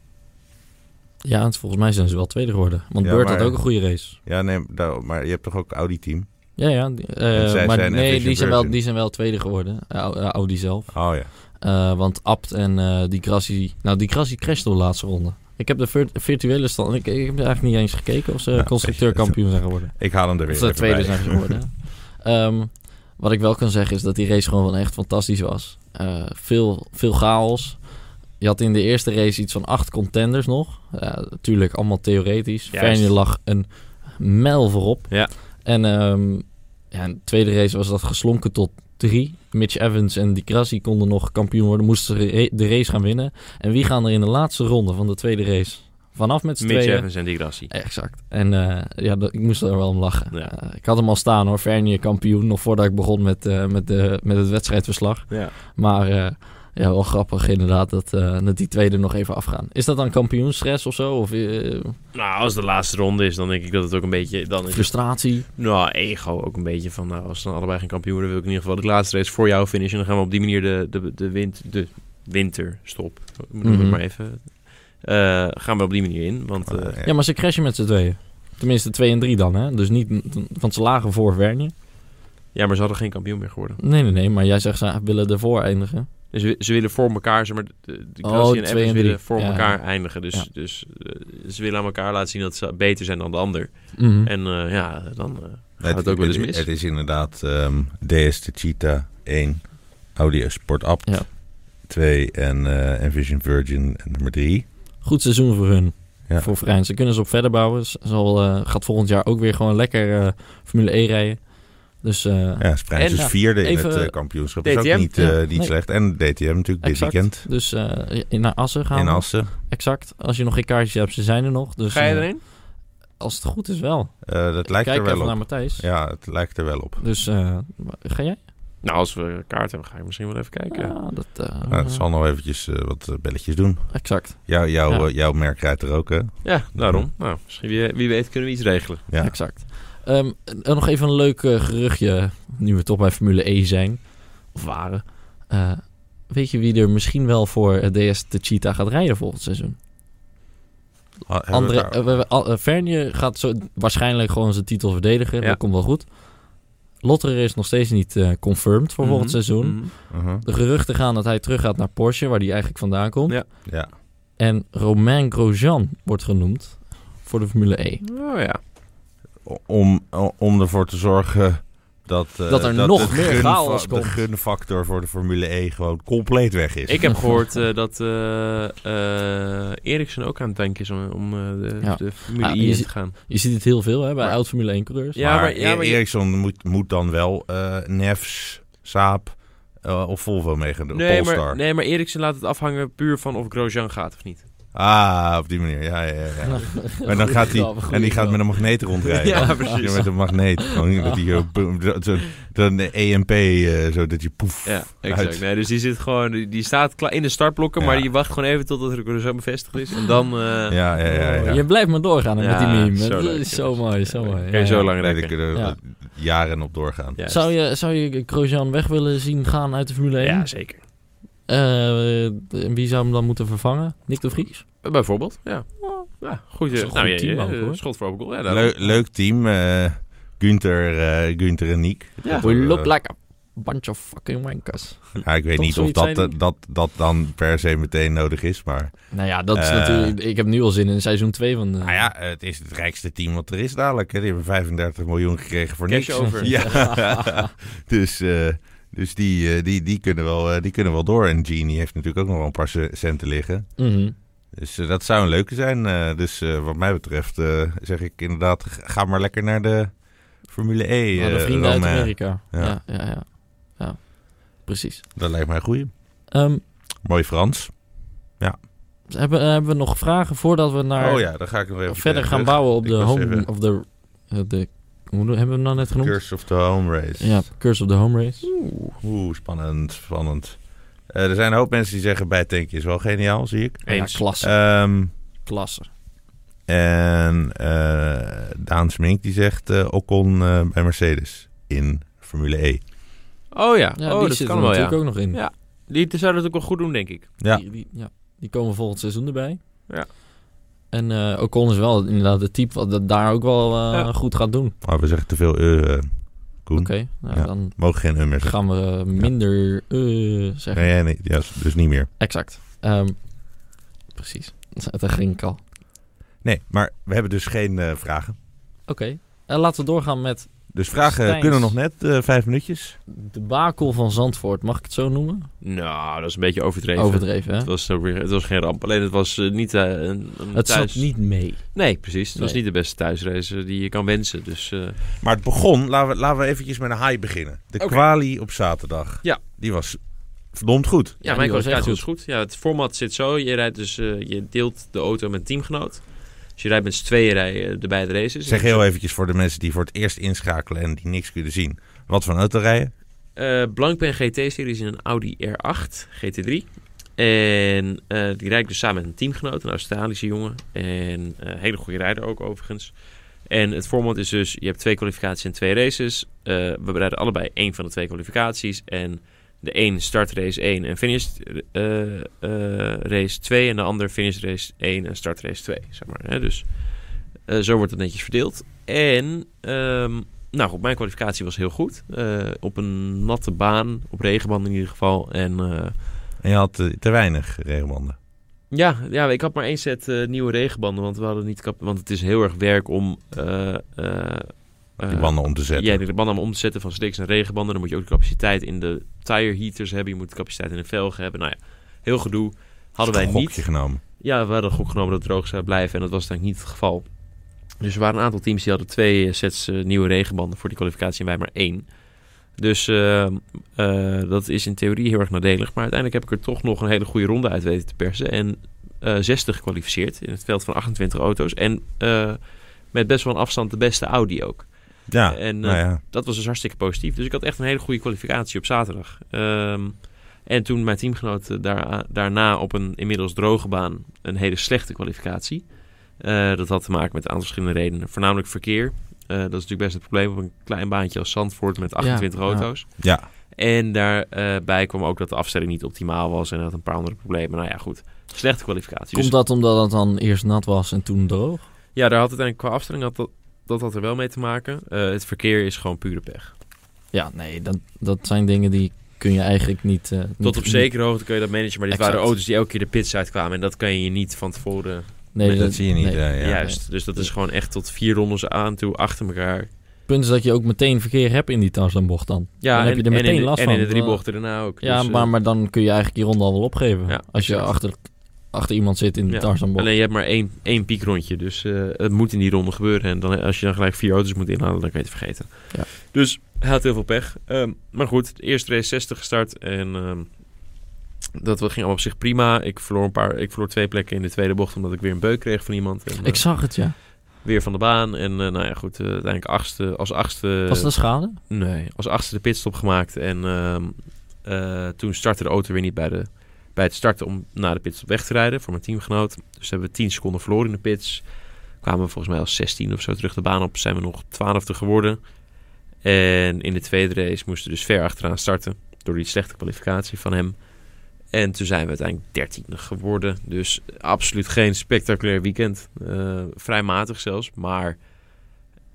S2: Ja, want volgens mij zijn ze wel tweede geworden. Want
S3: Ja,
S2: Beurt
S3: maar-
S2: had ook een goede race.
S3: Ja, nee, daar- maar je hebt toch ook Audi-team?
S2: Ja, ja. die- eh,
S3: En zij
S2: maar
S3: zijn
S2: nee, die
S3: Efficient
S2: zijn, wel,
S3: Virgin.
S2: die zijn wel tweede geworden. Au- eh, Audi zelf.
S3: Oh ja.
S2: Eh, want Abt en eh die Grassi... Nou, die Grassi crashte de laatste ronde. Ik heb de vir- virtuele stand... Ik, ik heb eigenlijk niet eens gekeken of ze
S3: Nou,
S2: constructeurkampioen zijn geworden.
S3: Ik haal hem er weer
S2: Of de
S3: even
S2: tweede
S3: bij.
S2: zijn geworden. Ehm, wat ik wel kan zeggen is dat die race gewoon wel echt fantastisch was. Eh, veel, veel chaos. Je had in de eerste race iets van acht contenders nog. Ja, natuurlijk allemaal theoretisch.
S1: Juist.
S2: Vernier lag een mijl voorop.
S1: Ja.
S2: En ehm, ja, in de tweede race was dat geslonken tot drie. Mitch Evans en Di Grassi konden nog kampioen worden. Moesten ze re- de race gaan winnen. En wie gaan er in de laatste ronde van de tweede race Vanaf met z'n
S1: Mitch
S2: Nou, tweeën.
S1: Evans en Di Grassi.
S2: Exact. En eh, ja, dat- ik moest er wel om lachen.
S1: Ja.
S2: Eh, ik had hem al staan hoor, Vernier kampioen, nog voordat ik begon met, eh, met, de, met het wedstrijdverslag.
S1: Ja.
S2: Maar eh, ja, wel grappig inderdaad dat, eh, dat die twee er nog even afgaan. Is dat dan kampioensstress of zo? Of eh,
S1: Nou, als de laatste ronde is, dan denk ik dat het ook een beetje... Dan is het-
S2: frustratie?
S1: nou, ego ook een beetje van... Nou, als ze dan allebei geen kampioen worden, wil ik in ieder geval de laatste race voor jou finishen. En dan gaan we op die manier de, de, de, wint, de winterstop, noem het
S2: Mhm.
S1: maar even... eh, gaan we op die manier in, want... eh,
S3: Eh,
S2: Ja, maar ze crashen met z'n tweeën. Tenminste, twee en drie dan, hè? Dus niet, want ze lagen voor Vernier.
S1: ja, maar ze hadden geen kampioen meer geworden.
S2: Nee, nee, nee, maar jij zegt ze willen ervoor eindigen.
S1: Dus ze, ze willen voor elkaar, zeg maar, de, de
S2: Oh,
S1: Grassi en
S2: twee
S1: Evans
S2: en
S1: willen
S2: drie.
S1: voor
S2: Ja.
S1: elkaar eindigen. Dus,
S2: Ja.
S1: dus eh, ze willen aan elkaar laten zien dat ze beter zijn dan de ander.
S2: Mhm.
S1: En eh, ja, dan eh, gaat het ook wel eens mis.
S3: Het is inderdaad ehm DS de Cheetah 1, Audi Sport Apt
S2: Ja.
S3: 2 en eh Envision Virgin en nummer 3.
S2: Goed seizoen voor hun.
S3: Ja.
S2: Voor Vrijns. Ze kunnen ze op verder bouwen. Ze zal, eh, gaat volgend jaar ook weer gewoon lekker eh, Formule E rijden. Dus eh,
S3: Ja, Sprijns
S1: En,
S3: is
S2: ja,
S3: vierde in
S2: even,
S3: het eh, kampioenschap. is
S1: DTM?
S3: ook niet, eh,
S2: Ja,
S3: niet
S2: nee.
S3: slecht. En DTM natuurlijk dit
S2: exact.
S3: weekend
S2: Dus eh, in- naar Assen gaan.
S3: in
S2: we.
S3: Assen.
S2: Exact. Als je nog geen kaartjes hebt, ze zijn er nog. Dus,
S1: Ga je
S2: eh,
S1: erin?
S2: Als het goed is wel.
S3: Eh, dat lijkt
S2: Kijk
S3: er wel
S2: even
S3: op.
S2: naar Matthijs.
S3: Ja, het lijkt er wel op.
S2: Dus eh, ga jij?
S1: Nou, als we kaart hebben, ga ik misschien wel even kijken.
S2: Ja, dat, eh,
S3: Nou, het zal nog eventjes eh, wat eh, belletjes doen.
S2: Exact.
S3: Jou, jou,
S2: Ja.
S3: eh, jouw merk rijdt er ook, hè?
S1: Ja, daarom. Nou, misschien wie, wie weet kunnen we iets regelen.
S3: Ja.
S2: Exact. Ehm, en nog even een leuk eh, geruchtje, nu we toch bij Formule E zijn, of waren. Eh, weet je wie er misschien wel voor eh, DS de Cheetah gaat rijden volgend seizoen?
S3: Ha- hebben we
S2: André,
S3: daar-
S2: eh, we- we- al- eh, Vernier gaat zo, waarschijnlijk gewoon zijn titel verdedigen,
S1: Ja.
S2: dat komt wel goed. Lotterer is nog steeds niet eh, confirmed voor volgend
S1: Mhm,
S2: seizoen.
S1: mhm.
S3: Mhm.
S2: De geruchten gaan dat hij teruggaat naar Porsche, waar hij eigenlijk vandaan komt.
S1: Ja.
S3: Ja.
S2: En Romain Grosjean wordt genoemd voor de Formule E.
S1: Oh ja.
S3: om, om ervoor te zorgen dat, eh,
S2: Dat er nog
S3: het
S2: meer
S3: gunfa-
S2: chaos
S3: De
S2: komt.
S3: gunfactor voor de Formule E gewoon compleet weg is.
S1: Ik heb gehoord eh, dat eh eh, Eriksen ook aan het denken is om, om eh, de,
S2: Ja.
S1: de Formule
S2: Ah,
S1: I
S2: je
S1: in
S2: ziet-
S1: te gaan.
S2: Je ziet het heel veel hè, bij
S1: Maar-
S2: oud Formule 1 coureurs.
S1: Ja,
S3: ja,
S1: maar-
S3: maar, E-
S1: ja, maar je-
S3: Ericsson moet, moet dan wel eh Nefs, Saab eh, of Volvo mee gaan doen.
S1: Nee
S3: Polestar.
S1: maar, nee, maar Eriksen laat het afhangen puur van of Grosjean gaat of niet.
S3: Ah, op die manier. Ja, ja, ja. ja. Maar dan gaat hij, en die gaat met een magneet rondrijden.
S1: Ja,
S3: Ja,
S1: precies.
S3: Met een magneet. Gewoon dat hij zo, boem, zo- zo- zo'n EMP, eh, zo dat je poef.
S1: Ja,
S3: uit.
S1: exact. Nee, dus die zit gewoon, die die staat klaar in de startblokken,
S3: Ja.
S1: maar die wacht gewoon even totdat Grosjean bevestigd is. En dan eh
S3: Ja, ja, ja. ja.
S2: Je blijft maar doorgaan hè,
S1: Ja,
S2: met die meme.
S1: zo
S2: Zo dat
S1: leuk,
S2: is
S1: ja.
S2: zo mooi, zo mooi.
S1: kan je
S2: Ja,
S1: zo
S2: ja.
S1: lang
S3: Nee, daar
S1: rekken.
S3: kunnen we
S2: Ja.
S3: eh, jaren op doorgaan.
S1: Juist.
S2: Zou je, zou je Grosjean weg willen zien gaan uit de Formule 1?
S1: Ja, zeker.
S2: Eh, en wie zou hem dan moeten vervangen? Nick de Vries?
S1: Eh, Bijvoorbeeld, ja. Ja, goed.
S2: is
S1: eh,
S2: een goed
S1: nou, ja,
S2: team
S1: ja,
S2: ook,
S1: eh,
S2: hoor.
S1: Schot voor open goal. Ja, daarom.
S3: Leu- leuk team. eh Gunther, eh, Gunther en Niek.
S1: Ja.
S2: We
S3: Eh,
S2: look like a bunch of fucking wankers.
S3: ja, ik weet
S1: Toch
S3: niet of
S1: zoiets
S3: dat,
S1: zijn
S3: dat, dat, dan per se meteen nodig is. Maar
S2: Nou ja, dat is
S3: Eh.
S2: natuurlijk... Ik heb nu al zin in seizoen 2 van... eh, de-
S3: nou ja, het is het rijkste team wat er is dadelijk. Hè. Die hebben 35 miljoen gekregen voor
S1: Cash
S3: niks.
S1: over.
S3: Ja, dus, eh, dus die, eh, die, die, kunnen wel, eh, die kunnen wel door. En Genie heeft natuurlijk ook nog wel een paar ce- centen liggen.
S2: Mhm.
S3: Dus eh, dat zou een leuke zijn. Eh, dus eh, wat mij betreft eh, zeg ik inderdaad, g- ga maar lekker naar de Formule E.
S2: Nou, de
S3: eh,
S2: vrienden uit
S3: Romain.
S2: Amerika. Ja,
S3: ja.
S2: ja, ja. ja. Precies.
S3: Dat lijkt mij een goeie.
S2: Ehm,
S3: Mooi Frans.
S2: hebben, hebben we nog vragen voordat we naar...
S3: oh ja, dan ga ik nog even
S2: verder gaan
S3: terug.
S2: bouwen op
S3: Ik
S2: de
S3: was
S2: home
S3: even-
S2: of de, eh, de hoe noem- hebben we hem nou net genoemd?
S3: Curse of the Home Race.
S2: Ja, Curse of the Home Race.
S3: Oeh, spannend, spannend. Eh, er zijn een hoop mensen die zeggen bijtanken is wel geniaal, zie ik.
S1: Eens. Eh,
S2: Ja, klasse,
S3: Ehm,
S2: klasse.
S3: en eh, Daan Smink die zegt eh, Ocon eh, bij Mercedes in Formule E.
S1: Oh ja,
S2: Ja,
S1: oh,
S2: die
S1: dat
S2: zit
S1: kan
S2: er
S1: wel, ja.
S2: natuurlijk ook nog in.
S1: Ja. Die die zouden het ook wel goed doen, denk ik.
S3: Ja.
S2: Die, die, ja, die komen volgend seizoen erbij.
S1: Ja.
S2: En eh, Ocon is wel inderdaad het type wat dat daar ook wel eh,
S1: Ja.
S2: goed gaat doen. Oké,
S3: Maar we zeggen te veel eh, eh, Koen.
S2: nou,
S3: Ja.
S2: dan
S3: Mogen geen eh meer zeggen.
S2: gaan we eh, minder eh, zeggen.
S3: Nee, nee, nee, ja, dus niet meer.
S2: Exact. Ehm, precies, dat ging ik al.
S3: Nee, maar we hebben dus geen eh, vragen.
S2: Oké, Eh, laten we doorgaan met
S3: Dus vragen
S2: Stijns.
S3: kunnen nog net, eh, vijf minuutjes.
S2: de bakel van Zandvoort. Mag ik het zo noemen?
S1: Nou, dat is een beetje overdreven.
S2: Overdreven, hè?
S1: Het was, ook weer, het was geen ramp. Alleen het was eh, niet eh, een, een
S2: Het
S1: thuis...
S2: zat niet mee.
S1: Nee, precies. Het was
S2: Nee.
S1: niet de beste thuisrace eh, die je kan wensen. Dus eh,
S3: Maar het begon, laten we, laten we eventjes met een high beginnen. De
S1: Oké.
S3: kwali op zaterdag.
S1: Ja.
S3: Die was verdomd goed.
S1: Ja,
S2: Ja,
S1: mijn
S2: die was echt
S1: kwalificatie was goed. Ja, het format zit zo. Je, rijdt dus, eh, je deelt de auto met een teamgenoot. Dus je rijdt met z'n tweeën rij je de beide races.
S3: Ik zeg heel eventjes voor de mensen die voor het eerst inschakelen en die niks kunnen zien. Wat voor een auto rijden?
S1: Eh, Blancpain GT-series in een Audi R8 GT3. En eh, die rijdt dus samen met een teamgenoot, een Australische jongen. En eh hele goede rijder ook overigens. En het format is dus, je hebt twee kwalificaties en twee races. Eh, we rijden allebei één van de twee kwalificaties. En de een start race 1 en finish eh, eh, race 2. En de ander finish race 1 en start race 2, zeg maar. Hè? Dus eh, zo wordt het netjes verdeeld. En ehm, nou goed, mijn kwalificatie was heel goed. Eh, op een natte baan, op regenband in ieder geval. En eh,
S3: En je had eh, te weinig regenbanden.
S1: ja, ja, ik had maar één set eh, nieuwe regenbanden, want we hadden niet kap Want het is heel erg werk om eh, eh,
S3: Die
S1: eh,
S3: banden om te zetten.
S1: Ja, die banden allemaal om te zetten van slicks en regenbanden. Dan moet je ook de capaciteit in de tire heaters hebben. Je moet de capaciteit in de velgen hebben. Nou ja, heel gedoe. Hadden wij
S3: Een
S1: niet.
S3: gokje genomen.
S1: Ja, we hadden goed genomen dat het droog zou blijven. En dat was eigenlijk niet het geval. Dus er waren een aantal teams die hadden twee eh, sets eh, nieuwe regenbanden voor die kwalificatie. En wij maar één. Dus eh, eh, dat is in theorie heel erg nadelig. Maar uiteindelijk heb ik er toch nog een hele goede ronde uit weten te persen. En eh 60 gekwalificeerd in het veld van 28 auto's. En eh, met best wel een afstand de beste Audi ook.
S3: Ja,
S1: En, eh,
S3: nou ja.
S1: Dat was dus hartstikke positief. Dus ik had echt een hele goede kwalificatie op zaterdag. Ehm, en toen mijn teamgenoot eh, daar, daarna op een inmiddels droge baan een hele slechte kwalificatie. Eh, dat had te maken met een aantal verschillende redenen. Voornamelijk verkeer. Eh, dat is natuurlijk best het probleem op een klein baantje als Zandvoort met 28
S2: Ja, ja.
S1: auto's.
S3: Ja.
S1: En daarbij kwam ook dat de afstelling niet optimaal was en dat een paar andere problemen. Nou ja, goed. Slechte kwalificatie. Dus
S2: Komt dat omdat het dan eerst nat was en toen droog?
S1: ja, daar had uiteindelijk qua afstelling had dat, dat had er wel mee te maken. Eh, het verkeer is gewoon pure pech.
S2: Ja, nee, dat, dat zijn dingen die kun je eigenlijk niet... eh,
S1: Tot
S2: niet-
S1: op zekere hoogte kun je dat managen, maar dit
S2: Exact.
S1: waren auto's die elke keer de pits uitkwamen. En dat kan je niet van tevoren.
S2: Nee,
S3: dat, zie je niet.
S2: nee.
S3: eh, ja.
S1: juist. Dus dat is gewoon echt tot vier rondes aan toe achter elkaar.
S2: Het punt is dat je ook meteen verkeer hebt in die Tarzanbocht dan.
S1: Ja,
S2: Dan heb
S1: en,
S2: je er
S1: en in
S2: meteen
S1: de-
S2: last
S1: en
S2: van.
S1: in de drie bochten daarna ook.
S2: Ja,
S1: Dus, eh,
S2: maar, maar dan kun je eigenlijk die ronde al wel opgeven.
S1: Ja,
S2: als je
S1: exact.
S2: achter, achter iemand zit in de
S1: ja.
S2: Tarzanbocht.
S1: eh, Alleen je hebt maar één, één piekrondje, dus eh, het moet in die ronde gebeuren. En dan, als je dan gelijk vier auto's moet inhalen, dan kan je het vergeten.
S2: Ja.
S1: Dus hij had heel veel pech. Ehm, maar goed, de eerste race 60 gestart en ehm, dat ging allemaal op zich prima. Ik verloor, een paar, ik verloor twee plekken in de tweede bocht, omdat ik weer een beuk kreeg van iemand. En, eh,
S2: Ik zag het, ja.
S1: weer van de baan. En eh, nou ja, goed, eh, uiteindelijk achtste, als achtste...
S2: Was dat schade?
S1: Nee, als achtste de pitstop gemaakt. En ehm, eh, toen startte de auto weer niet bij, de, bij het starten om naar de pitstop weg te rijden voor mijn teamgenoot. Dus hebben we 10 seconden verloren in de pits. Kwamen we volgens mij als 16 of zo terug de baan op. Zijn we nog 12e geworden. En in de tweede race moesten we dus ver achteraan starten. Door die slechte kwalificatie van hem. En toen zijn we uiteindelijk 13 geworden. Dus absoluut geen spectaculair weekend. Eh, vrij matig zelfs. Maar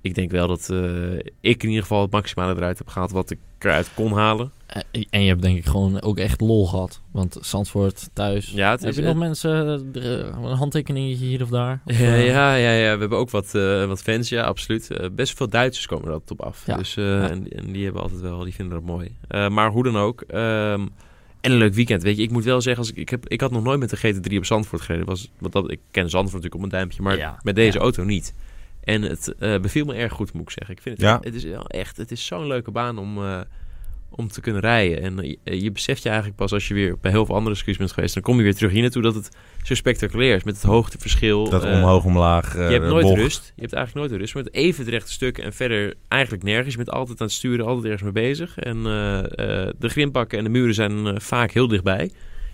S1: ik denk wel dat eh, ik in ieder geval het maximale eruit heb gehaald wat ik eruit kon halen.
S2: Eh, En je hebt denk ik gewoon ook echt lol gehad. Want Zandvoort thuis.
S1: Ja, het
S2: Heb
S1: is,
S2: je nog mensen, eh, er, eh, een handtekeningetje hier of daar? Of,
S1: ja,
S2: eh,
S1: ja, ja, ja, we hebben ook wat, eh, wat fans, ja, absoluut. Eh, best veel Duitsers komen er altijd op af.
S2: Ja.
S1: Dus, eh, en, en die hebben altijd wel, die vinden dat mooi. Eh, maar hoe dan ook. ehm, en een leuk weekend. Weet je, ik moet wel zeggen, als ik, ik, heb, ik had nog nooit met de GT3 op Zandvoort gereden. Was, want dat, ik ken Zandvoort natuurlijk op mijn duimpje, maar
S2: Ja,
S1: met deze
S2: ja.
S1: auto niet. En het eh, beviel me erg goed, moet ik zeggen. Ik vind het,
S3: Ja.
S1: het is wel echt, het is zo'n leuke baan om, eh, om te kunnen rijden. En eh, je, je beseft je eigenlijk pas als je weer bij heel veel andere circuits bent geweest, dan kom je weer terug hier naartoe dat het zo spectaculair is met het hoogteverschil.
S3: Dat
S1: eh,
S3: omhoog, omlaag. eh,
S1: je hebt nooit
S3: bocht.
S1: rust. Je hebt eigenlijk nooit rust. Met even het rechte stuk en verder eigenlijk nergens. Je bent altijd aan het sturen, altijd ergens mee bezig. En eh, eh, de grindbakken en de muren zijn eh, vaak heel dichtbij.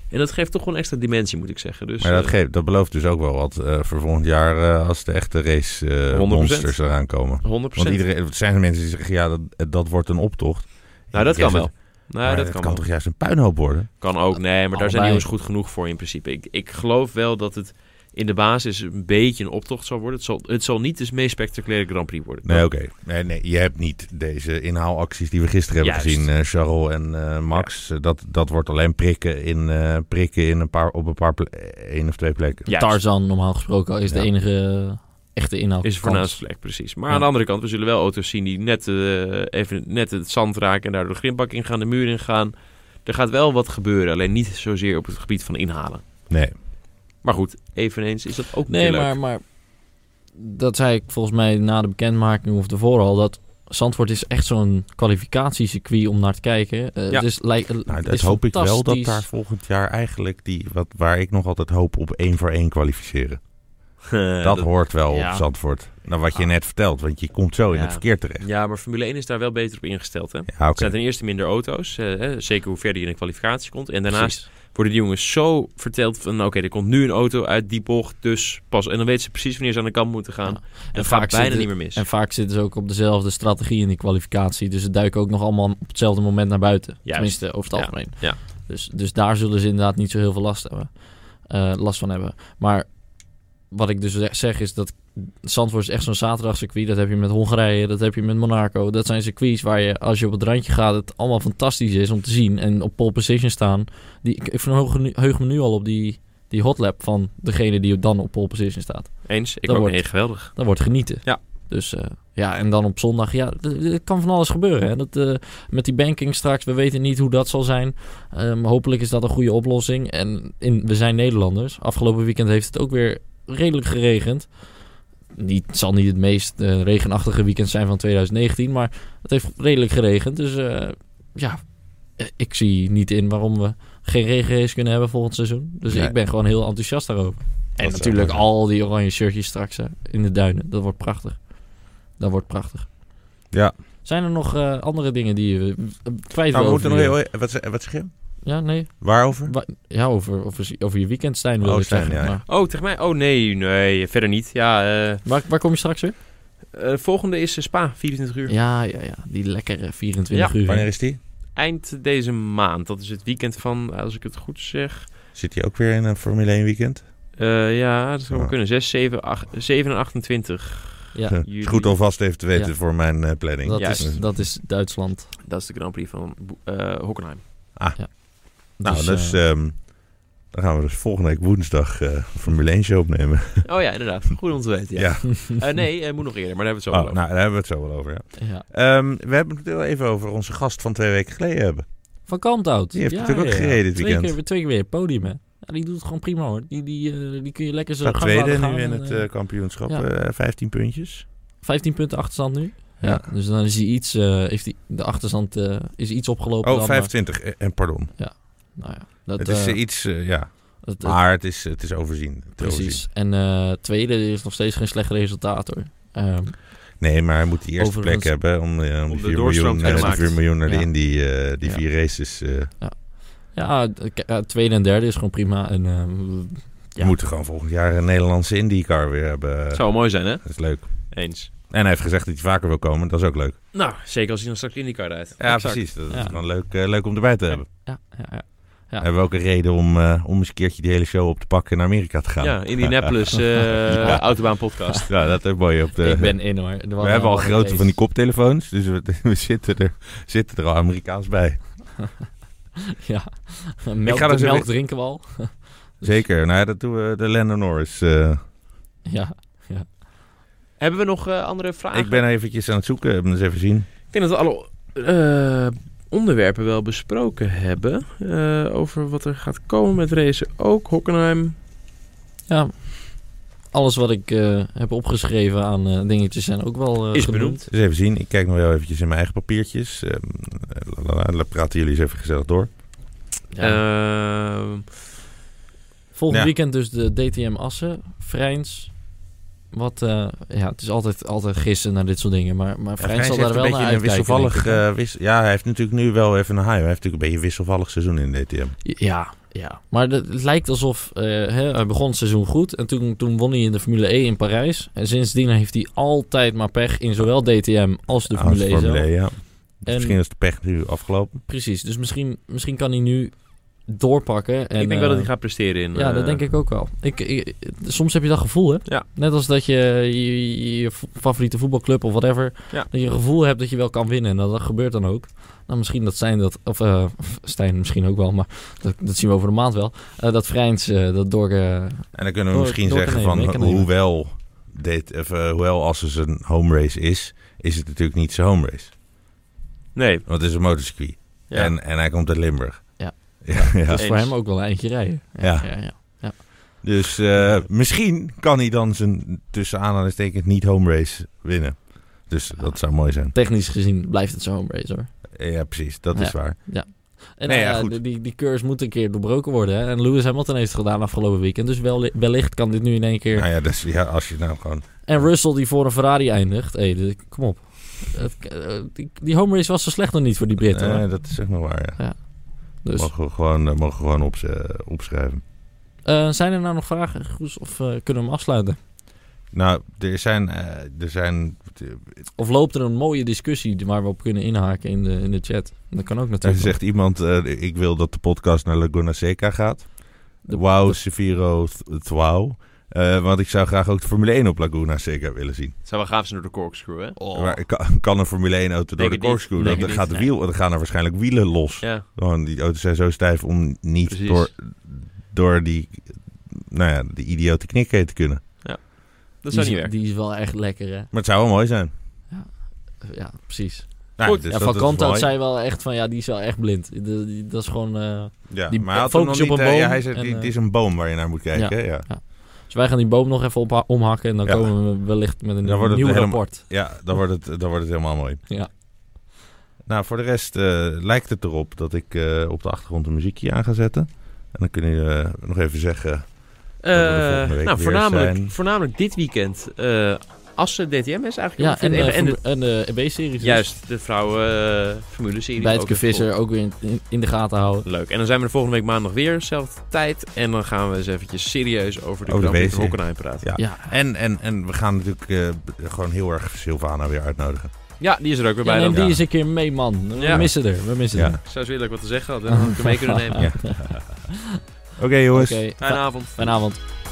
S1: En dat geeft toch wel een extra dimensie, moet ik zeggen. Dus,
S3: Maar dat,
S1: eh,
S3: geeft, dat belooft dus ook wel wat eh, voor volgend jaar eh, als de echte race eh,
S1: 100%.
S3: monsters eraan komen.
S1: 100%.
S3: Want iedereen, het zijn er mensen die zeggen, ja, dat, eh, dat wordt een optocht.
S1: Nou, dat
S3: Ik zeg
S1: kan wel.
S3: het,
S1: Nou,
S3: maar
S1: dat
S3: het
S1: kan,
S3: kan,
S1: wel.
S3: toch juist een puinhoop worden?
S1: Kan ook, nee, maar daar zijn
S2: Allebei.
S1: die jongens goed genoeg voor in principe. Ik, ik geloof wel dat het in de basis een beetje een optocht zal worden. Het zal, het zal niet de meest spectaculaire Grand Prix worden.
S3: Nee, oké. Nee, nee, je hebt niet deze inhaalacties die we gisteren hebben
S1: Juist.
S3: gezien, eh Charles en eh, Max. Eh, Dat, dat wordt alleen prikken, in, eh, prikken in een paar, op een paar ple- één of twee plekken.
S1: Juist.
S2: Tarzan normaal gesproken is de
S3: Ja.
S2: enige eh, echte inhoud.
S1: Is een voornaamste plek, precies. Maar aan de
S2: Ja.
S1: andere kant, we zullen wel auto's zien die net, eh, even, net het zand raken en daar de grindbak in gaan, de muur in gaan. Er gaat wel wat gebeuren, alleen niet zozeer op het gebied van inhalen.
S3: Nee.
S1: Maar goed, eveneens is dat ook
S2: Nee,
S1: weer leuk.
S2: maar, maar dat zei ik volgens mij na de bekendmaking of ervoor al. Dat Zandvoort is echt zo'n kwalificatiecircuit om naar te kijken. Eh,
S1: Ja.
S2: Dus lijkt,
S3: Nou,
S2: het
S3: dat
S2: is
S3: hoop ik wel dat
S2: fantastisch.
S3: daar volgend jaar eigenlijk die, wat, waar ik nog altijd hoop op één voor één kwalificeren. dat, hoort wel
S2: ja. Ah.
S3: op Zandvoort. Nou, wat je net vertelt, want je komt zo in
S1: Ja.
S3: het verkeer terecht.
S1: Ja, maar Formule 1 is daar wel beter op ingesteld. Hè?
S3: Ja,
S1: Er
S3: oké.
S1: zijn ten eerste minder auto's, eh, hè, zeker hoe verder je in de kwalificatie komt. En daarnaast worden die jongens zo verteld van... oké, er komt nu een auto uit die bocht, dus pas... en dan weten ze precies wanneer ze aan de kant moeten gaan.
S2: Ja.
S1: En dat gaat bijna
S2: zitten-
S1: niet meer mis.
S2: En vaak zitten ze ook op dezelfde strategie in die kwalificatie. Dus ze duiken ook nog allemaal op hetzelfde moment naar buiten.
S1: Juist.
S2: Tenminste, over het
S1: Ja,
S2: algemeen.
S1: ja.
S2: Dus, dus daar zullen ze inderdaad niet zo heel veel last, hebben, Eh, last van hebben. Maar wat ik dus zeg- zeg is dat Zandvoort is echt zo'n zaterdagcircuit. Dat heb je met Hongarije, dat heb je met Monaco. Dat zijn circuits waar je, als je op het randje gaat, het allemaal fantastisch is om te zien. En op pole position staan. Die, ik ik verheug nu- heug me nu al op die, die hotlap van degene die dan op pole position staat.
S1: Eens, ik
S2: dat
S1: ook
S2: wordt-
S1: nee, geweldig.
S2: Dan wordt genieten.
S1: Ja.
S2: Dus eh, ja, en dan op zondag, ja, d- d- het kan van alles gebeuren. Hè? Dat, eh, met die banking straks, we weten niet hoe dat zal zijn. Ehm, hopelijk is dat een goede oplossing. En in, we zijn Nederlanders. Afgelopen weekend heeft het ook weer redelijk geregend. Niet, het zal niet het meest eh, regenachtige weekend zijn van 2019, maar het heeft redelijk geregend. Dus eh, ja, eh, ik zie niet in waarom we geen regenrace kunnen hebben volgend seizoen. Dus
S3: Nee.
S2: ik ben gewoon heel enthousiast daarover. En
S3: zou
S2: natuurlijk
S3: mooi zijn.
S2: al die oranje shirtjes straks hè, in de duinen. Dat wordt prachtig. Dat wordt prachtig.
S3: Ja.
S2: Zijn er nog eh, andere dingen die je eh, kwijt wil
S3: Nou, we
S2: over
S3: moeten nog
S2: je-
S3: heel... Wat, ze- wat zeg je?
S2: Ja, nee.
S3: Waarover?
S2: Wa- ja, over, over, over je weekend Stijn wil
S3: Oh,
S2: ik
S3: Stijn,
S2: zeggen.
S3: ja, ja.
S2: maar
S1: Oh, tegen mij? Oh, nee, nee, verder niet. Ja, eh,
S2: waar, waar kom je straks weer?
S1: eh, volgende is eh, Spa, 24 uur.
S2: Ja, ja, ja. Die lekkere 24 uur.
S3: Wanneer is die?
S1: Eind deze maand, dat is het weekend van, eh, als ik het goed zeg...
S3: Zit hij ook weer in een Formule 1 weekend?
S1: eh, ja, dat zou wel
S3: Ja.
S1: kunnen. 6, 7, 8, 7 en 28
S2: Ja,
S3: Is goed alvast even te weten
S2: Ja.
S3: voor mijn eh, planning.
S2: dat,
S1: Ja,
S2: is, dat is Duitsland.
S1: Dat is de Grand Prix van Bo- eh, Hockenheim.
S3: Nou,
S2: Dus,
S3: dus,
S2: eh,
S3: ehm, dan gaan we dus volgende week woensdag eh, een Formule 1 show opnemen.
S1: Oh ja, inderdaad. Goed om te weten, ja.
S3: Ja.
S1: Eh, nee, eh, moet nog eerder, maar daar hebben we
S3: Oh,
S1: het zo
S3: nou,
S1: over.
S3: daar hebben we het zo wel over, ja.
S2: ja.
S3: Ehm, we hebben het heel even over onze gast van twee weken geleden hebben.
S2: Van Kalmthout.
S3: Die heeft natuurlijk ook gereden dit
S2: Twee
S3: weekend.
S2: keer, weer- twee keer weer podium, hè. Ja, die doet het gewoon prima, hoor. Die, die, eh, die kun je lekker zo
S3: Staat
S2: gang
S3: tweede
S2: laten gaan
S3: nu in
S2: en,
S3: het
S2: eh,
S3: eh, kampioenschap,
S2: ja.
S3: eh, 15 puntjes.
S2: 15 punten achterstand nu. Ja.
S3: Ja.
S2: dus dan is hij iets, eh, heeft hij, de achterstand eh, is iets opgelopen.
S3: Oh,
S2: dan,
S3: 25, eh, en pardon.
S2: maar- nou ja, dat,
S3: Het is
S2: eh,
S3: eh, iets, eh, ja.
S2: dat- dat-
S3: Maar het is, het is overzien. Het is overzien.
S2: precies. En eh, tweede is nog steeds geen slecht resultaat hoor. Ehm,
S3: Nee, maar hij moet die eerste
S2: Overigens-
S3: plek hebben om, eh, om,
S1: Om
S3: die
S1: de
S3: 4
S1: doorstroom
S3: miljoen,
S1: te
S3: eh, die
S1: maken.
S3: 4 miljoen naar
S2: Ja.
S3: de Indy, eh, die
S2: Ja.
S3: vier races eh,
S2: ja, k- eh, tweede en derde is gewoon prima. En, ehm, Ja.
S3: We moeten gewoon volgend jaar een Nederlandse IndyCar weer hebben.
S1: Zou wel mooi zijn, hè?
S3: Dat is leuk.
S1: Eens.
S3: En hij heeft gezegd dat hij vaker wil komen. Dat is ook leuk.
S1: Nou, zeker als hij dan straks IndyCar rijdt.
S3: Ja,
S1: Exact.
S3: precies. Dat is
S2: Ja.
S3: gewoon leuk, eh, leuk om erbij te hebben.
S2: ja, ja, ja. Ja.
S3: Hebben we ook een reden om, eh, om eens een keertje die hele show op te pakken en naar Amerika te gaan.
S1: Ja, Indianapolis eh
S2: Ja.
S1: Autobaan Podcast.
S3: Ja, dat is mooi. Op de,
S2: ik ben in hoor. Er was
S3: we hebben al
S2: een
S3: grote
S2: race.
S3: van die koptelefoons, dus we, we zitten, er, zitten er al Amerikaans bij.
S2: Ja, melk,
S3: ga nou er zo
S2: melk
S3: weer-
S2: drinken we al. Dus-
S3: Zeker. Nou ja, dat doen we de Lando Norris. eh.
S2: Ja,
S1: Hebben we nog eh, andere vragen?
S3: ik ben eventjes aan het zoeken. eh, Eens even zien.
S1: Ik denk dat we alle eh, onderwerpen wel besproken hebben. eh, over wat er gaat komen met racen. Ook Hockenheim.
S2: ja. Alles wat ik eh, heb opgeschreven aan eh, dingetjes zijn ook wel eh,
S1: Is
S2: genoemd.
S1: benoemd.
S3: Dus even zien. Ik kijk nog wel eventjes in mijn eigen papiertjes. Ehm, eh, la, la, la, la, praten jullie eens even gezellig door.
S2: Ja.
S1: Ehm,
S2: Volgend
S3: Ja.
S2: weekend dus de DTM Assen, Vrijns. Wat, eh, ja, het is altijd, altijd gissen naar dit soort dingen, maar, maar
S3: Ja,
S2: Vrijns
S3: Vrijns
S2: zal
S3: heeft
S2: daar
S3: een
S2: wel
S3: beetje
S2: naar
S3: een
S2: uitkijken.
S3: wisselvallig.
S2: denk ik.
S3: eh, wis- ja, hij heeft natuurlijk nu wel even een high. maar Hij heeft natuurlijk een beetje een wisselvallig seizoen in DTM.
S2: Ja, ja. Maar de- het lijkt alsof eh, hè, hij begon het seizoen goed en toen, toen won hij in de Formule E in Parijs. En sindsdien heeft hij altijd maar pech in zowel DTM als de
S3: Ah,
S2: Formule E zelf.
S3: Formule E, ja.
S2: En-
S3: Misschien is de pech nu afgelopen.
S2: Precies, dus misschien, misschien kan hij nu doorpakken. En,
S1: ik denk wel dat
S2: eh,
S1: hij gaat presteren in.
S2: Ja, dat
S1: eh,
S2: denk ik ook wel. Ik, ik- soms heb je dat gevoel, hè?
S1: Ja.
S2: Net als dat je je, je- je vo- favoriete voetbalclub of whatever...
S1: Ja.
S2: dat je een gevoel hebt dat je wel kan winnen. En dat, dat gebeurt dan ook. Nou, misschien dat Stijn dat... Of eh, Stijn misschien ook wel, maar dat, dat zien we over de maand wel. Eh, dat Vrijns eh, dat door... eh,
S3: En dan kunnen we
S2: Door-
S3: misschien
S2: door te
S3: zeggen
S2: nemen, ik
S3: van,
S2: kan nemen.
S3: hoewel, dit, of, eh, hoewel als het een home race is, is het natuurlijk niet zijn home race.
S1: Nee.
S3: Want het is een motorcircuit.
S1: Ja.
S3: En, en hij komt uit Limburg.
S2: Ja.
S3: ja, ja.
S2: dat is voor
S1: Eens.
S2: hem ook wel een eindje rijden.
S3: Ja.
S2: ja, ja.
S3: Dus eh, misschien kan hij dan zijn tussen aanhalingstekens niet home race winnen. Dus dat zou mooi zijn.
S2: Technisch gezien blijft het zo'n race hoor.
S3: Ja, precies. Dat is waar.
S2: En
S3: Nee,
S2: nou
S3: ja,
S2: ja,
S3: goed.
S2: die- die, die curse moet een keer doorbroken worden. Hè? En Lewis Hamilton heeft het gedaan afgelopen weekend. Dus wel, wellicht kan dit nu in één keer.
S3: Nou ja, dus, ja, als je nou gewoon...
S2: En Russell die voor een Ferrari eindigt. Hé, dit- kom op. Het- eh, die, die home race was zo slecht nog niet voor die Britten. hoor.
S3: Eh, dat is zeg maar waar, ja.
S2: dus.
S3: Mogen we gewoon, eh, mogen we gewoon opze- opschrijven.
S2: Eh, zijn er nou nog vragen, Goes? Of eh, kunnen we hem afsluiten?
S3: Nou, er zijn, eh, er zijn,
S2: Of loopt er een mooie discussie waar we op kunnen inhaken in de, in de chat? Dat kan ook
S3: er
S2: natuurlijk.
S3: zegt iemand, eh, ik wil dat de podcast naar Laguna Seca gaat.
S2: De-
S3: Wauw,
S2: de-
S3: Severo, Twau. Eh, want ik zou graag ook de Formule 1 op Laguna Seca willen zien.
S1: Het zou wel gaaf zijn door de corkscrew, hè?
S3: Maar kan, kan een Formule 1 auto door
S1: Oh. Denk
S3: de
S1: het niet.
S3: corkscrew?
S1: Denk
S3: Dan,
S1: het
S3: gaat
S1: niet,
S3: de wiel, dan gaan er waarschijnlijk wielen los.
S1: Ja,
S3: Gewoon, die auto's zijn zo stijf om niet
S1: Precies.
S3: door, door die, nou ja, die idiote knik heen te kunnen.
S1: dat
S2: die,
S1: zou
S2: is,
S1: niet werken.
S2: die is wel echt lekker, hè?
S3: Maar het zou wel mooi zijn.
S2: Ja, precies.
S3: Nou,
S1: Goed.
S3: dus
S2: ja,
S3: dat
S2: van
S3: is
S2: Kanto
S3: mooi.
S2: zei wel echt van, ja, die is wel echt blind. De- die- dat is gewoon... eh,
S3: Ja,
S2: die
S3: maar hij had
S2: focus
S3: hem nog
S2: op een
S3: niet, eh, ja,
S2: boom
S3: hij zei,
S2: en,
S3: die-
S2: eh,
S3: het is een boom waar je naar moet kijken. Ja, ja.
S2: Dus wij gaan die boom nog even opha- omhakken en dan
S3: Ja.
S2: komen we wellicht met een
S3: Dan wordt het
S2: nieuw
S3: helemaal-
S2: rapport.
S3: dan, wordt het, dan wordt het helemaal mooi.
S2: Ja.
S3: Nou, voor de rest eh, lijkt het erop dat ik eh, op de achtergrond een muziekje aan ga zetten. En dan kun je eh, nog even zeggen... we de volgende
S1: Eh, nou,
S3: week weer zijn.
S1: voornamelijk, voornamelijk dit weekend. eh Assen DTM is eigenlijk.
S2: Ja, en,
S1: en,
S2: eh,
S1: en de,
S2: voor- en de EB-series.
S1: juist, de vrouwen eh, Formule Serie.
S2: Bij
S1: ook weer
S2: Visser ook weer in, in- in de gaten houden.
S1: vol. Leuk. En dan zijn we de volgende week maandag weer, zelfde tijd. En dan gaan we eens eventjes serieus over de
S3: Over de
S1: Grand Prix van
S3: WC.
S1: Hockenheim praten.
S3: Ja.
S2: Ja.
S3: En, en, en we gaan natuurlijk eh, b- gewoon heel erg Sylvana weer uitnodigen.
S1: Ja, die is er ook weer
S2: Ja,
S1: bij
S2: neem
S1: dan.
S2: die
S3: Ja.
S2: eens een keer mee, man. We
S1: Ja.
S2: missen er. We missen
S3: Ja.
S2: er.
S1: Ik zou eens willen dat ik wat te zeggen had. hè, Dan had ik hem mee kunnen nemen.
S3: Ja. Oké jongens,
S2: Oké,
S1: Fijne avond.
S2: fijne avond.